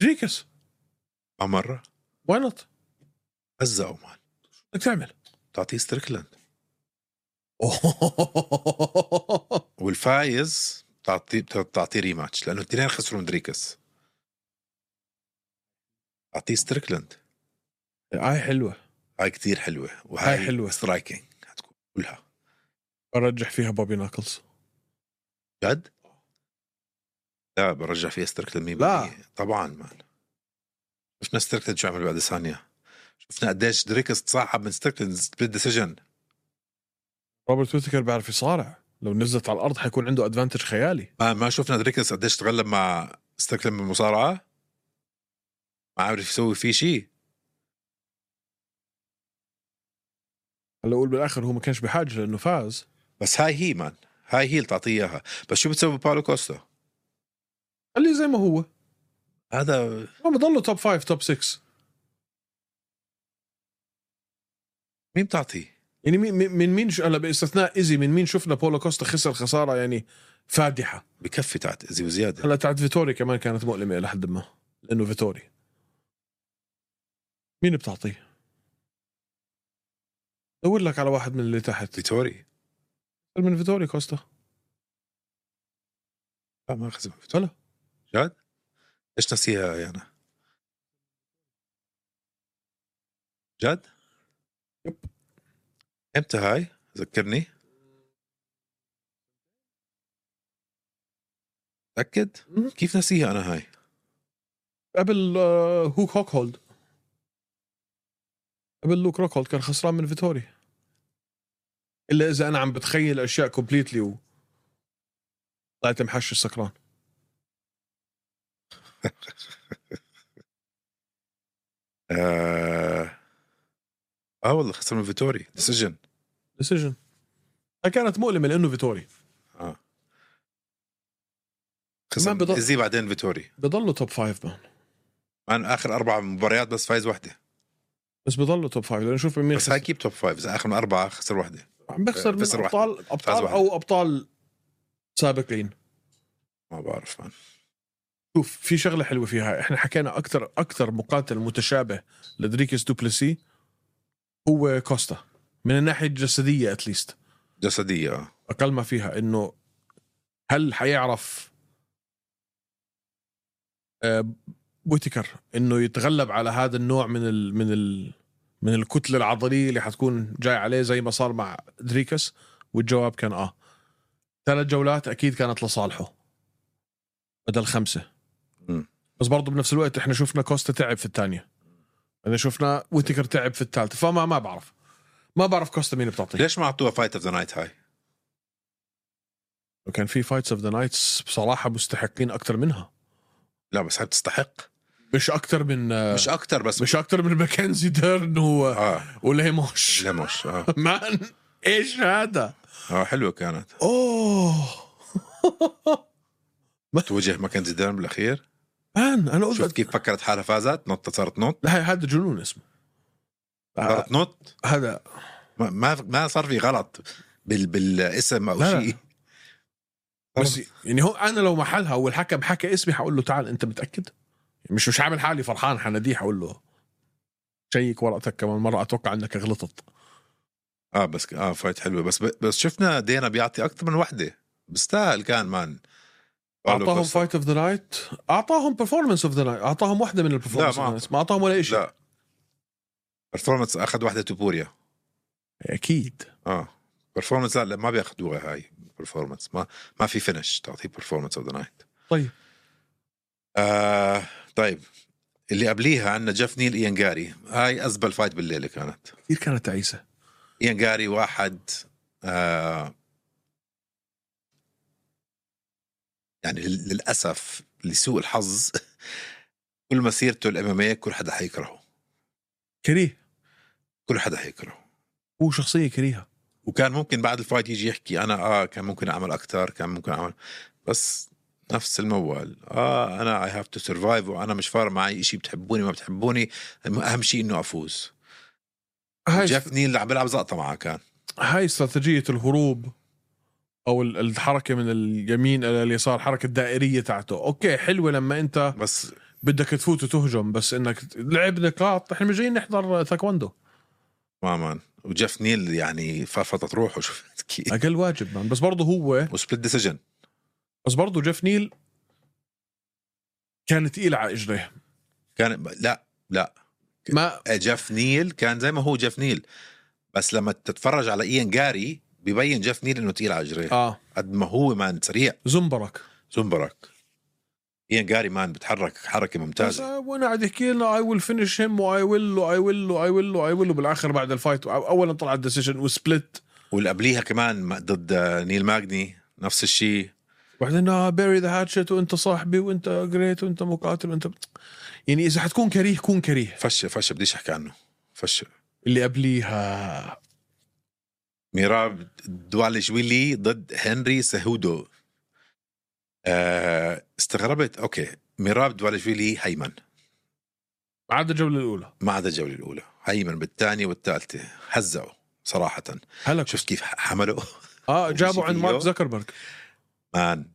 ريكس
مع مره
واي نوت
هزقوا مان
بدك <laughs> تعمل
تعطيه ستريكلاند
آه،
والفايز تعطيه تعطيه ريماتش لانه الاثنين خسروا من دريكس اعطيه ستريكلاند
هاي حلوه
هاي كثير حلوه وهاي
هاي حلوة.
سترايكينج حتكون كلها
برجح فيها بوبي ناكلز
جد؟ لا برجع فيها ستريكلاند 100%
لا.
طبعا مان شفنا ستريكلاند شو عمل بعد ثانيه شفنا قديش دريكس تصاحب من ستريكلاند بالديسيجن
روبرت ويتكر بيعرف يصارع لو نزلت على الارض حيكون عنده ادفانتج خيالي
ما ما شفنا دريكس قديش تغلب مع ستريكلاند بالمصارعه ما عرف يسوي فيه شيء
هلا اقول بالاخر هو ما كانش بحاجه لانه فاز
بس هاي هي مان هاي هي اللي تعطيه اياها بس شو بتسوي بباولو كوستا
قال لي زي ما هو
هذا
ما بضله توب 5 توب 6
مين بتعطيه
يعني مين- مين- من مين ش- هلا باستثناء ايزي من مين شفنا بولو كوستا خسر خساره يعني فادحه
بكفي تعت اذي وزياده
هلا تاعت فيتوري كمان كانت مؤلمه لحد ما لانه فيتوري مين بتعطيه؟ دور لك على واحد من اللي تحت
فيتوري
أكثر من فيتوري كوستا
لا ما خزم فيتوري
هلا
ايش نسيها يا انا جد
يب.
امتى هاي ذكرني متاكد
مم.
كيف نسيها انا هاي
قبل آه، هوك هوك هولد قبل لوك روك هولد كان خسران من فيتوري الا اذا انا عم بتخيل اشياء كومبليتلي و طلعت محشش سكران
اه, آه والله خسر من فيتوري ديسيجن
ديسيجن كانت مؤلمه لانه فيتوري
اه
ما
خسر
بضل-
بضل... ازي بعدين فيتوري
بضله توب فايف مان
انا اخر اربع مباريات بس فايز وحده
بس بضله توب فايف لانه شوف مين
بس هاي كيب توب فايف اذا اخر من اربعه خسر وحده
عم بخسر من
خسر واحد.
ابطال ابطال
واحد.
او ابطال سابقين
ما بعرف مان
شوف في شغله حلوه فيها احنا حكينا اكثر اكثر مقاتل متشابه لدريكس دوبلسي هو كوستا من الناحيه الجسديه اتليست
جسديه اه
اقل ما فيها انه هل حيعرف آه، بوتيكر انه يتغلب على هذا النوع من ال من ال من الكتله العضليه اللي حتكون جاي عليه زي ما صار مع دريكس والجواب كان اه ثلاث جولات اكيد كانت لصالحه بدل خمسه
مم.
بس برضه بنفس الوقت احنا شفنا كوستا تعب في الثانيه انا شفنا ويتكر تعب في الثالثه فما ما بعرف ما بعرف كوستا مين بتعطيه
ليش ما اعطوها فايت اوف ذا نايت هاي؟
وكان في فايتس اوف ذا نايتس بصراحه مستحقين اكثر منها
لا بس هاي بتستحق
مش اكثر من
مش اكثر بس
آه. مش اكثر من ماكنزي ديرن و...
اه <laughs>
وليموش <laughs>
لمش اه
مان ايش هذا؟
اه حلوه كانت
اوه
توجه ماكنزي
<laughs>
ديرن بالاخير
<laughs> مان انا
شفت
قلت
كيف فكرت حالها فازت نطت صارت نط
لا هذا جنون اسمه آه،
صارت نط
هذا
ما ما, ما صار في غلط بال بالاسم او
لا، لا.
شيء
بس يعني هو انا لو محلها والحكم حكى اسمي حقول له تعال انت متاكد؟ مش مش عامل حالي فرحان حناديه حقول له شيك ورقتك كمان مره اتوقع انك غلطت
اه بس اه فايت حلوه بس بس شفنا دينا بيعطي اكثر من وحده بيستاهل كان مان باولو
اعطاهم
كوستا.
فايت اوف ذا نايت اعطاهم برفورمانس اوف ذا نايت اعطاهم واحده من البرفورمانس
لا، ما
ما اعطاهم ولا شيء
لا برفورمانس اخذ وحده توبوريا
اكيد
اه برفورمانس لا, لا ما بياخذوها هاي برفورمانس ما ما في فينش تعطيه برفورمانس اوف ذا نايت
طيب
آه طيب اللي قبليها عندنا جيف نيل ايان جاري هاي ازبل فايت بالليله كانت
كثير كانت تعيسه
ايان جاري واحد آه يعني لل- للاسف لسوء الحظ كل مسيرته الاماميه كل حدا حيكرهه
كريه
كل حدا حيكرهه
هو شخصيه كريهه
وكان ممكن بعد الفايت يجي يحكي انا اه كان ممكن اعمل اكثر كان ممكن اعمل بس نفس الموال اه انا اي هاف تو سرفايف وانا مش فارق معي شيء بتحبوني ما بتحبوني اهم شيء انه افوز
هاي
جيف نيل عم بيلعب زقطه معه كان
هاي استراتيجيه الهروب او ال- الحركه من اليمين الى اليسار حركه دائريه تاعته اوكي حلوه لما انت
بس
بدك تفوت وتهجم بس انك لعب نقاط احنا مش جايين نحضر تاكوندو
تماما وجيف نيل يعني فرفطت روحه شفت كيف
اقل واجب مان بس برضه هو
وسبليت ديسيجن
بس برضه جيف نيل كان تقيل على اجريه
كان لا
ما
جيف نيل كان زي ما هو جيف نيل بس لما تتفرج على ايان جاري ببين جيف نيل انه تقيل على اجريه
اه
قد ما هو مان سريع
زنبرك
زنبرك ايان جاري مان بتحرك حركه
بس
ممتازه
آه، وانا قاعد يحكي لنا اي ويل فينش هيم واي ويل واي ويل واي ويل واي ويل وبالاخر بعد الفايت أو- اولا طلع الديسيشن وسبلت
واللي قبليها كمان ما- ضد آه، نيل ماجني نفس الشيء
وبعدين اه بيري ذا هاتشت وانت صاحبي وانت جريت وانت مقاتل وانت يعني اذا حتكون كريه كون كريه
فش فش بديش احكي عنه فش
اللي قبليها
ميراب دوالجويلي ضد هنري سهودو آه استغربت اوكي ميراب دوالجويلي هيمن
ما عدا الجوله الاولى
ما عدا الجوله الاولى هيمن بالثانيه والثالثه هزعوا صراحه
هلا
شفت كيف حملوا <laughs>
اه جابوا عند مارك
فيديو.
زكربرج
مان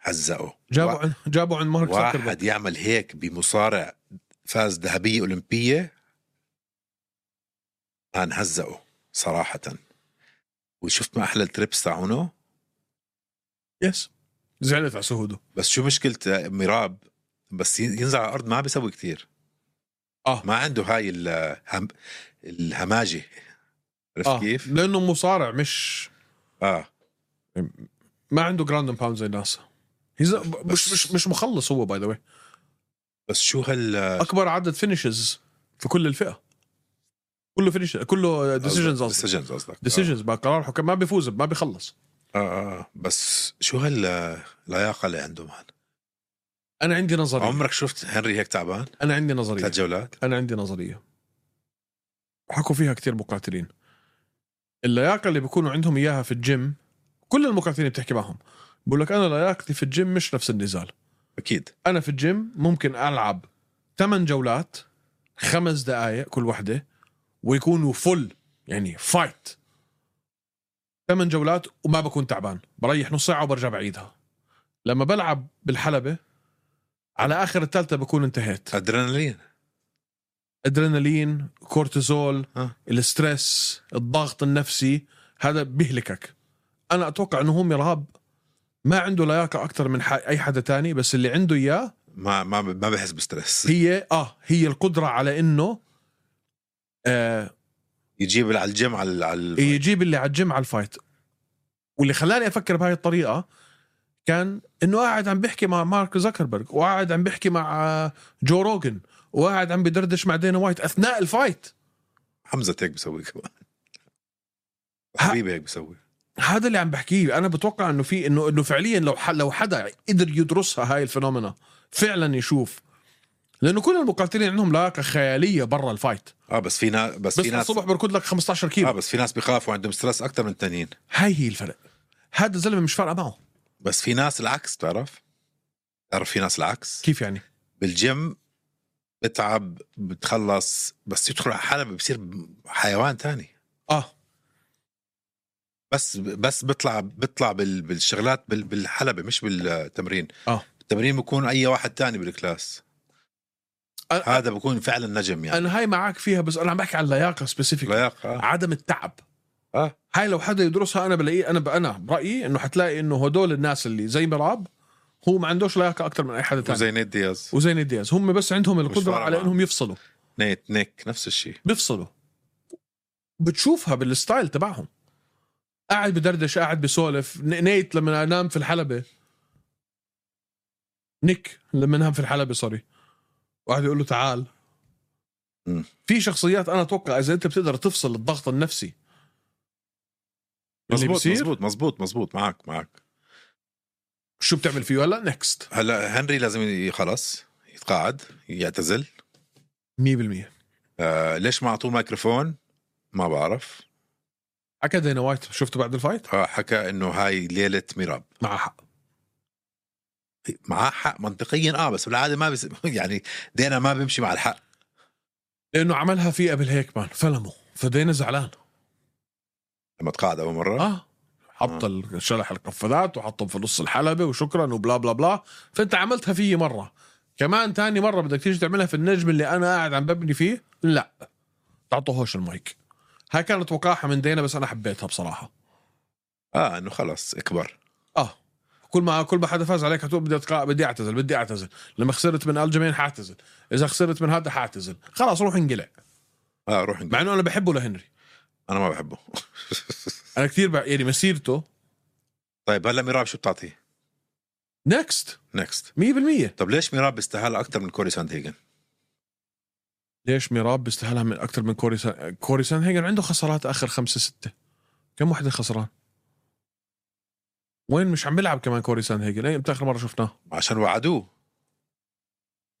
هزقوا
جابوا عند جابوا عند مارك زكربرج
واحد يعمل هيك بمصارع فاز ذهبية أولمبية كان هزقه صراحة وشفت ما أحلى التريبس تاعونه
يس زعلت على سهوده
بس شو مشكلة ميراب بس ينزع على الأرض ما بيسوي كتير
آه.
ما عنده هاي الهم... الهماجة عرفت آه.
اه
كيف؟
لانه مصارع مش
آه
ما عنده جراوند اند باوند زي الناس He's a- مش مش مش مخلص هو باي ذا واي
بس شو هال
اكبر عدد فينيشز في كل الفئه كله فينيش كله ديسيجنز قصدي
ديسيجنز قصدك آه.
ديسيجنز بقى قرار الحكام ما بيفوز ما بيخلص
آه. آه. بس شو هاللياقة اللي عنده مان
انا عندي نظريه
عمرك شفت هنري هيك تعبان؟
انا عندي نظريه
ثلاث جولات
انا عندي نظريه حكوا فيها كثير مقاتلين اللياقه اللي بيكونوا عندهم اياها في الجيم كل المقاتلين بتحكي معهم بقول لك انا لياقتي في الجيم مش نفس النزال
اكيد
انا في الجيم ممكن العب ثمان جولات خمس دقائق كل وحده ويكونوا فل يعني فايت ثمان جولات وما بكون تعبان بريح نص ساعه وبرجع بعيدها لما بلعب بالحلبه على اخر الثالثه بكون انتهيت
ادرينالين
ادرينالين كورتيزول
آه.
الستريس الضغط النفسي هذا بيهلكك انا اتوقع انه هو ميراب ما عنده لياقه اكثر من ح- اي حدا تاني بس اللي عنده اياه
ما ما ما بحس بستريس
هي اه هي القدره على انه آه
يجيب على الجيم على على
يجيب اللي على الجيم على الفايت واللي خلاني افكر بهاي الطريقه كان انه قاعد عم بحكي مع مارك زكربرج وقاعد عم بحكي مع آه، جو روجن وقاعد عم بدردش مع دينا وايت اثناء الفايت
حمزه هيك بسوي كمان
ها.
حبيبي هيك بسوي
هذا اللي عم بحكيه انا بتوقع انه في انه انه فعليا لو ح- لو حدا قدر يدرسها هاي الفينومينا فعلا يشوف لانه كل المقاتلين عندهم لياقه خياليه برا الفايت
اه بس في ناس بس,
بس
في ناس
الصبح بركض لك 15
اه
كيلو
بس في ناس بخافوا عندهم ستريس اكثر من التانيين
هاي هي الفرق هذا الزلمه مش فارقه معه
بس في ناس العكس تعرف تعرف في ناس العكس
كيف يعني
بالجيم بتعب بتخلص بس يدخل على حلبة بصير حيوان تاني
اه
بس بس بيطلع بيطلع بال- بالشغلات بال- بالحلبة مش بالتمرين
آه.
التمرين بكون اي واحد تاني بالكلاس
أنا-
هذا بكون فعلا نجم يعني
انا هاي معك فيها بس انا عم بحكي عن اللياقه سبيسيفيك
لياقة
عدم التعب
آه.
هاي لو حدا يدرسها انا بلاقيه انا انا برايي انه حتلاقي انه هدول الناس اللي زي مراب هو ما عندوش لياقه اكثر من اي حدا ثاني
وزي نيت دياز
وزين دياز هم بس عندهم القدره
فارقة
على
معهم.
انهم يفصلوا
نيت نيك نفس الشيء
بيفصلوا بتشوفها بالستايل تبعهم قاعد بدردش قاعد بسولف ن- نيت لما نام في الحلبة نيك لما نام في الحلبة سوري وقعد يقول له تعال
مم.
في شخصيات انا اتوقع اذا انت بتقدر تفصل الضغط النفسي اللي
مزبوط
بصير
مزبوط مزبوط مزبوط معك معك
شو بتعمل فيه هلا نكست
هلا هنري لازم ي- خلص يتقاعد يعتزل
100%
آه ليش ما اعطوه ميكروفون ما بعرف
حكى دينا وايت شفته بعد الفايت
آه حكى انه هاي ليله ميراب
مع حق
معاه حق منطقيا اه بس بالعاده ما بس <laughs> يعني دينا ما بيمشي مع الحق
لانه عملها فيه قبل هيك مان فلمه فدينا زعلان
لما تقاعد اول مره
اه حط ال- شلح القفازات وحطهم في نص الحلبة وشكرا وبلا بلا بلا فانت عملتها فيي مرة كمان تاني مرة بدك تيجي تعملها في النجم اللي انا قاعد عم ببني فيه لا تعطوهوش المايك هاي كانت وقاحة من دينا بس انا حبيتها بصراحة
اه انه خلص اكبر
اه كل ما كل ما حدا فاز عليك هتقول بدي أتقا... بدي اعتزل بدي اعتزل لما خسرت من الجمين حاعتزل اذا خسرت من هذا حاعتزل خلاص روح انقلع
اه روح
مع انه انا بحبه لهنري
انا ما بحبه
انا كثير ب... يعني مسيرته
طيب هلا ميراب شو بتعطيه؟
نكست
نكست
100%
طب ليش ميراب بيستاهل اكثر من كوري ساند هيجن؟
ليش ميراب بيستاهلها من اكثر من كوري سان كوري سان هيجن عنده خسارات اخر خمسة ستة كم وحده خسران وين مش عم بيلعب كمان كوري سان هيجن اي امتى اخر مره شفناه
عشان وعدوه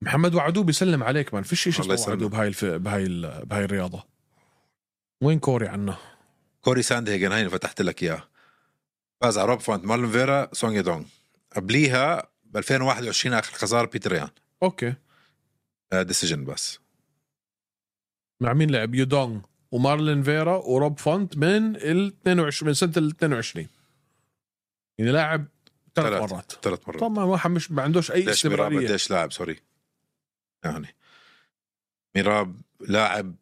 محمد وعدوه بيسلم عليك مان فيش شيء اسمه
الله يسلمك.
وعدوه بهاي الف... بهاي ال... بهاي الرياضه وين كوري عنا
كوري ساندهيجن هاي اللي فتحت لك اياها فاز على روب فونت مارلون فيرا سونيا دونغ قبليها ب 2021 اخر خساره بيتر يان
اوكي
ديسيجن آه، بس
مع مين لعب يودونغ ومارلين فيرا وروب فونت من ال 22 من سنه ال 22 يعني لاعب ثلاث
ثلاث.
مرات
ثلاث مرات
طبعا واحد مش ما عندوش اي
ليش ميراب
استمراريه
قديش لاعب سوري يعني ميراب لاعب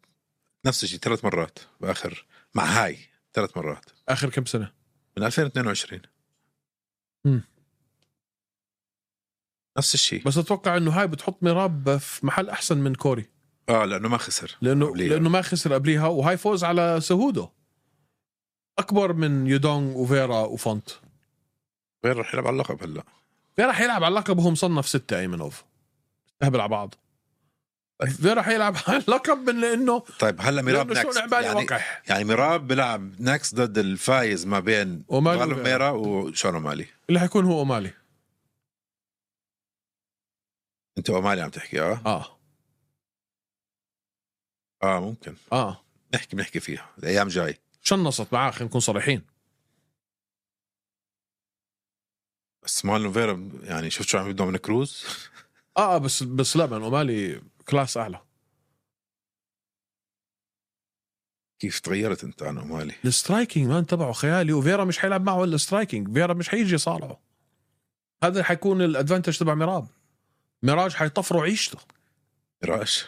نفس الشيء ثلاث مرات باخر مع هاي ثلاث مرات
اخر كم سنه
من 2022
مم.
نفس الشيء
بس اتوقع انه هاي بتحط ميراب في محل احسن من كوري
اه لانه ما خسر
لانه
قبليها.
لانه ما خسر قبليها وهاي فوز على سهودو اكبر من يودونغ وفيرا وفونت
غير رح يلعب على اللقب هلا
فيرا راح يلعب على اللقب وهو مصنف ستة ايمنوف استهبل على بعض فيرا راح يلعب <laughs> على اللقب من لانه
طيب هلا ميراب
لانه شو
نكست
لعبالي
يعني
وقح
يعني ميراب بيلعب نكست ضد الفايز ما بين
ومالي
غالب
وفيرا.
ميرا وشون مالي
اللي حيكون هو اومالي
انت اومالي عم تحكي اه
اه
اه ممكن
اه
نحكي بنحكي فيها الايام جاي
شنصت معاه خلينا نكون صريحين
بس مارلون فيرا يعني شفت شو عم يبدو من كروز <laughs>
اه آه، بس بس لا من اومالي كلاس اعلى
كيف تغيرت انت عن اومالي
السترايكينج مان تبعه خيالي وفيرا مش حيلعب معه الا سترايكينج فيرا مش حيجي يصارعه هذا حيكون الادفانتج تبع ميراب ميراج حيطفروا عيشته
ميراش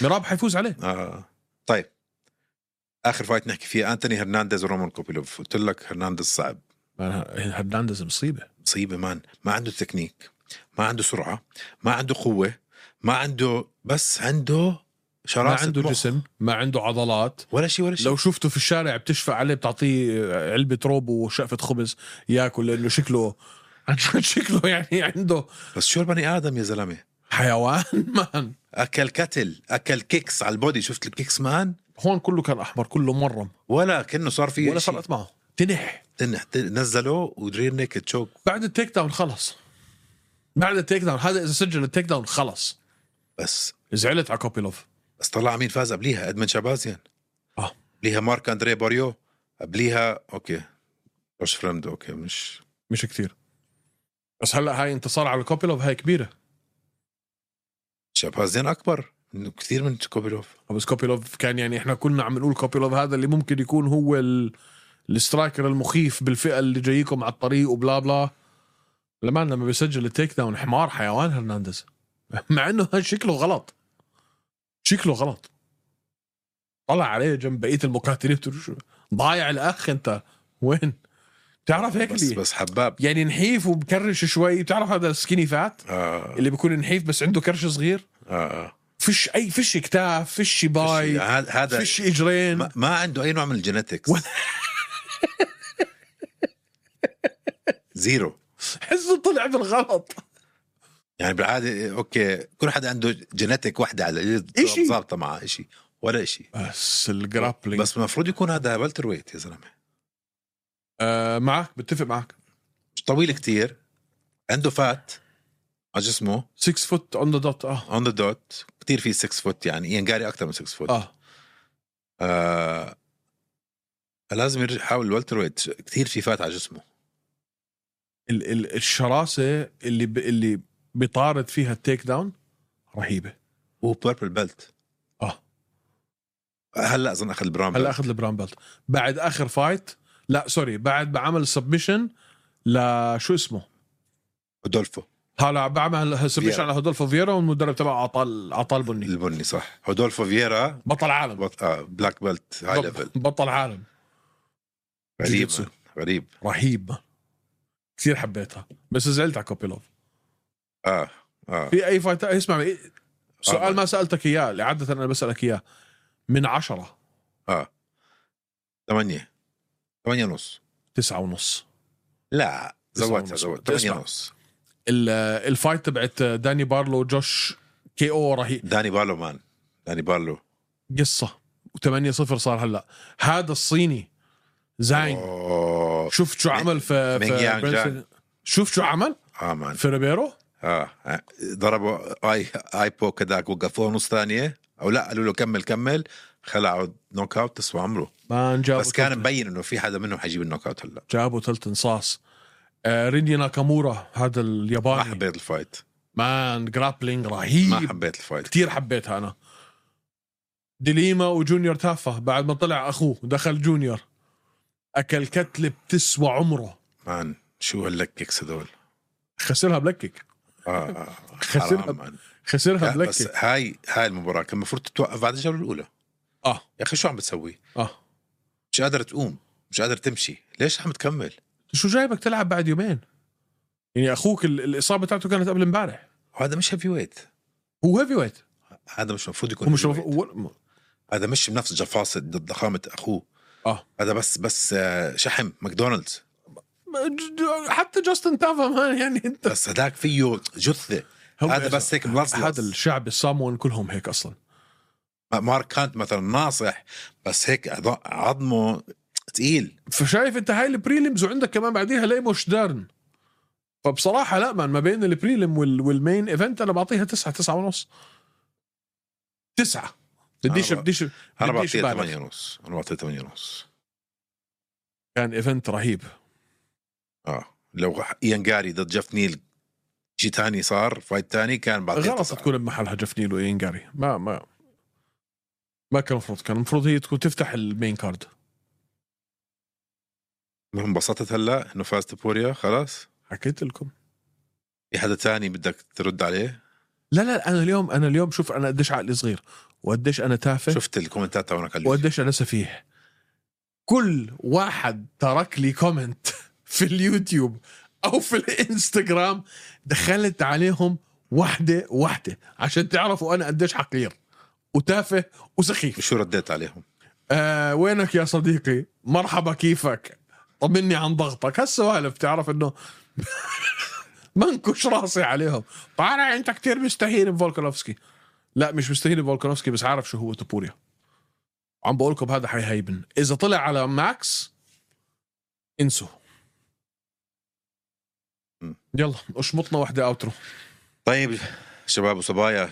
ميراب حيفوز عليه
آه. طيب اخر فايت نحكي فيها انتوني هرنانديز ورومان كوبيلوف قلت لك هرنانديز صعب
هرنانديز مصيبه
مصيبه مان ما عنده تكنيك ما عنده سرعه ما عنده قوه ما عنده بس عنده
ما
شراسه
عنده
مخ.
جسم ما عنده عضلات
ولا شيء ولا شيء
لو شفته في الشارع بتشفق عليه بتعطيه علبة روب وشقفة خبز ياكل لأنه شكله <laughs> عن جد شكله يعني عنده
بس شو البني ادم يا زلمه
حيوان مان
اكل كتل اكل كيكس على البودي شفت الكيكس مان
هون كله كان أحمر كله مرم
ولا كانه صار فيه
ولا
شيء
فرقت معه تنح
تن- تن- نزلوه ودرير نيكد تشوك
بعد التيك داون خلص بعد التيك داون هذا إذا سجل التيك داون خلص
بس
زعلت على كوبيلوف
بس طلع مين فاز قبليها ادمن شابازيان
آه.
قبليها مارك اندري باريو قبليها اوكي جوش فريند اوكي مش
مش كثير بس هلا هاي انتصار على كوبيلوف هاي كبيرة
شابازيان اكبر من- كثير من كوبيلوف
بس كوبيلوف كان يعني احنا كلنا عم نقول كوبيلوف هذا اللي ممكن يكون هو ال... السترايكر المخيف بالفئه اللي جايكم على الطريق وبلا بلا لما لما بيسجل التيك داون حمار حيوان هرنانديز <laughs> مع انه هذا شكله غلط شكله غلط طلع عليه جنب بقيه المقاتلين بتقول شو- ضايع الاخ انت وين بتعرف هيك
بس
ليه
بس حباب
يعني نحيف وبكرش شوي بتعرف هذا السكيني فات
آه
اللي بيكون نحيف بس عنده كرش صغير
آه آه.
فيش اي فيش كتاف فيش باي
هذا هذا
طيب، فيش اجرين
ما, ما عنده اي نوع من الجينيتكس
ولا-
<laughs> زيرو
حسه طلع بالغلط
يعني بالعاده اوكي كل حدا عنده جينيتك وحده على القليل
إشي.
ظابطه معه شيء ولا شيء
بس الجرابلينج بس
بس المفروض يكون هذا بلتر ويت يا زلمه
آه معك بتفق معك
مش طويل كتير عنده فات على جسمه
6 فوت اون ذا دوت اه
اون ذا دوت كثير في 6 فوت يعني ايان جاري اكثر من 6 فوت
اه
آه لازم يرجع يحاول والتر ويت كثير في فات على جسمه
ال- ال- الشراسه اللي ب... اللي بطارد فيها التيك داون رهيبه
وهو بيربل بيلت
اه
هلا اظن اخذ البرام
هلا اخذ البراون بيلت بعد اخر فايت لا سوري بعد ما عمل سبمشن لشو اسمه
هودولفو
هلا بعمل سبمشن
فييرا.
على هودولفو فييرا والمدرب تبعه عطال عطال بني
البني صح هودولفو فييرا
بطل عالم
بط... آه بلاك بيلت هاي ليفل
بطل عالم
غريب
جوجيتسو.
غريب
رهيب كثير حبيتها بس زعلت على كوبيلوف
اه اه
في اي فايت اسمع سؤال
طبعاً.
ما سالتك اياه اللي عاده انا بسالك اياه من عشرة
اه ثمانية ثمانية ونص
تسعة ونص
لا
تسعة
زودتها
ونص.
زودتها
اسمع.
ثمانية ونص
ال- الفايت تبعت داني بارلو وجوش كي او رهيب
داني بالو مان داني بالو
قصه و8 0 صار هلا هذا الصيني زاين
أوه.
شفت شو عمل في,
مينغ يانغ
في
جان.
شفت شو عمل
اه مان
في ريبيرو
اه ضربوا اي اي بوك هذاك وقفوه نص ثانيه او لا قالوا له كمل كمل خلعوا نوك اوت تسوى عمره
ما جابوا
بس كان
تلت-
مبين انه في حدا منهم حيجيب النوك اوت هلا
جابوا ثلث انصاص آه ريندي ناكامورا هذا
ما
الياباني
حبيت الفايت
مان جرابلينج
ما
رهيب
حبيت الفايت
كثير حبيتها انا ديليما وجونيور تافه بعد ما طلع اخوه دخل جونيور اكل كتله بتسوى عمره
مان شو هاللككس هدول
خسرها بلكك
اه
خسرها
حرام، مان.
خسرها
لا، بس
بلكك
هاي هاي المباراه كان المفروض تتوقف بعد الجوله الاولى
اه
يا اخي شو عم بتسوي؟
اه
مش قادر تقوم مش قادر تمشي ليش عم تكمل؟
شو جايبك تلعب بعد يومين يعني اخوك ال- الاصابه تاعته كانت قبل امبارح
وهذا مش هيفي ويت
هو هيفي ويت
هذا مش المفروض يكون
هو مش
heavyweight.
هو-
هذا مش بنفس جفاصة ضد ضخامة أخوه
آه.
هذا بس بس آه، شحم ماكدونالدز
ج- ج- حتى جاستن تافا مان يعني انت
بس هذاك فيه جثة
هم-
هذا بس هيك ملصلص
هذا الشعب الصامون كلهم هيك اصلا
مارك كانت مثلا ناصح بس هيك عض- عظمه تقيل
فشايف انت هاي البريلمز وعندك كمان بعديها ليبوش دارن فبصراحة لا مان ما بين البريلم وال... والمين ايفنت انا بعطيها تسعة تسعة ونص تسعة بديش
أنا ب-
بديش
أنا
بديش
بعطيه
أبالغ.
8 ونص أنا بعطيه 8 ونص
كان ايفنت رهيب
اه لو إيان جاري ضد جيف نيل شيء تاني صار فايت تاني كان بعطيه
غلط
تسعة.
تكون بمحلها جيف نيل وإينجاري ما ما ما كان المفروض كان المفروض هي تكون تفتح المين كارد
المهم انبسطت هلا إنه فاز تبوريا خلاص
حكيت لكم
في حدا تاني بدك ترد عليه
لا لا انا اليوم انا اليوم شوف انا قديش عقلي صغير وقديش انا تافه
شفت الكومنتات تبعك على
وقديش انا سفيه كل واحد ترك لي كومنت في اليوتيوب او في الانستغرام دخلت عليهم واحده واحده عشان تعرفوا انا قديش حقير وتافه وسخيف
شو رديت عليهم
آه وينك يا صديقي مرحبا كيفك طمني عن ضغطك هالسوالف تعرف <laughs> انه منكش راسي عليهم طالع انت كتير مستهين بفولكانوفسكي لا مش مستهين بفولكانوفسكي بس عارف شو هو توبوريا عم بقول لكم هذا حيهيبن اذا طلع على ماكس انسوا
مم.
يلا اشمطنا واحدة اوترو
طيب شباب وصبايا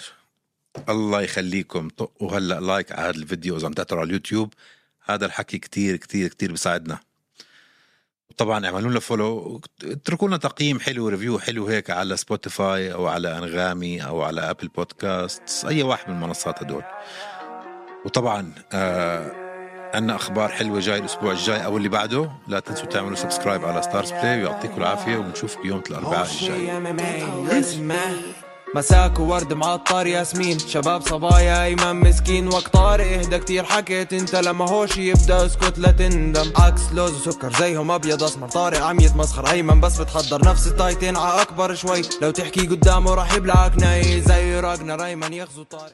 الله يخليكم طقوا هلا لايك على هذا الفيديو اذا عم تقطعوا على اليوتيوب هذا الحكي كتير كتير كتير بيساعدنا طبعا اعملوا لنا فولو اتركوا لنا تقييم حلو ريفيو حلو هيك على سبوتيفاي او على انغامي او على ابل بودكاست اي واحد من المنصات هدول وطبعا آه عندنا اخبار حلوه جاي الاسبوع الجاي او اللي بعده لا تنسوا تعملوا سبسكرايب على ستارز بلاي ويعطيكم العافيه ونشوفكم يوم الاربعاء الجاي
مساك وورد معطر ياسمين شباب صبايا ايمن مسكين وقت طارق اهدى كتير حكيت انت لما هوش يبدا اسكت لا تندم عكس لوز وسكر زيهم ابيض اسمر طارق عم يتمسخر ايمن بس بتحضر نفس التايتين ع اكبر شوي لو تحكي قدامه راح يبلعك ناي زي راجنا ريمان يغزو طارق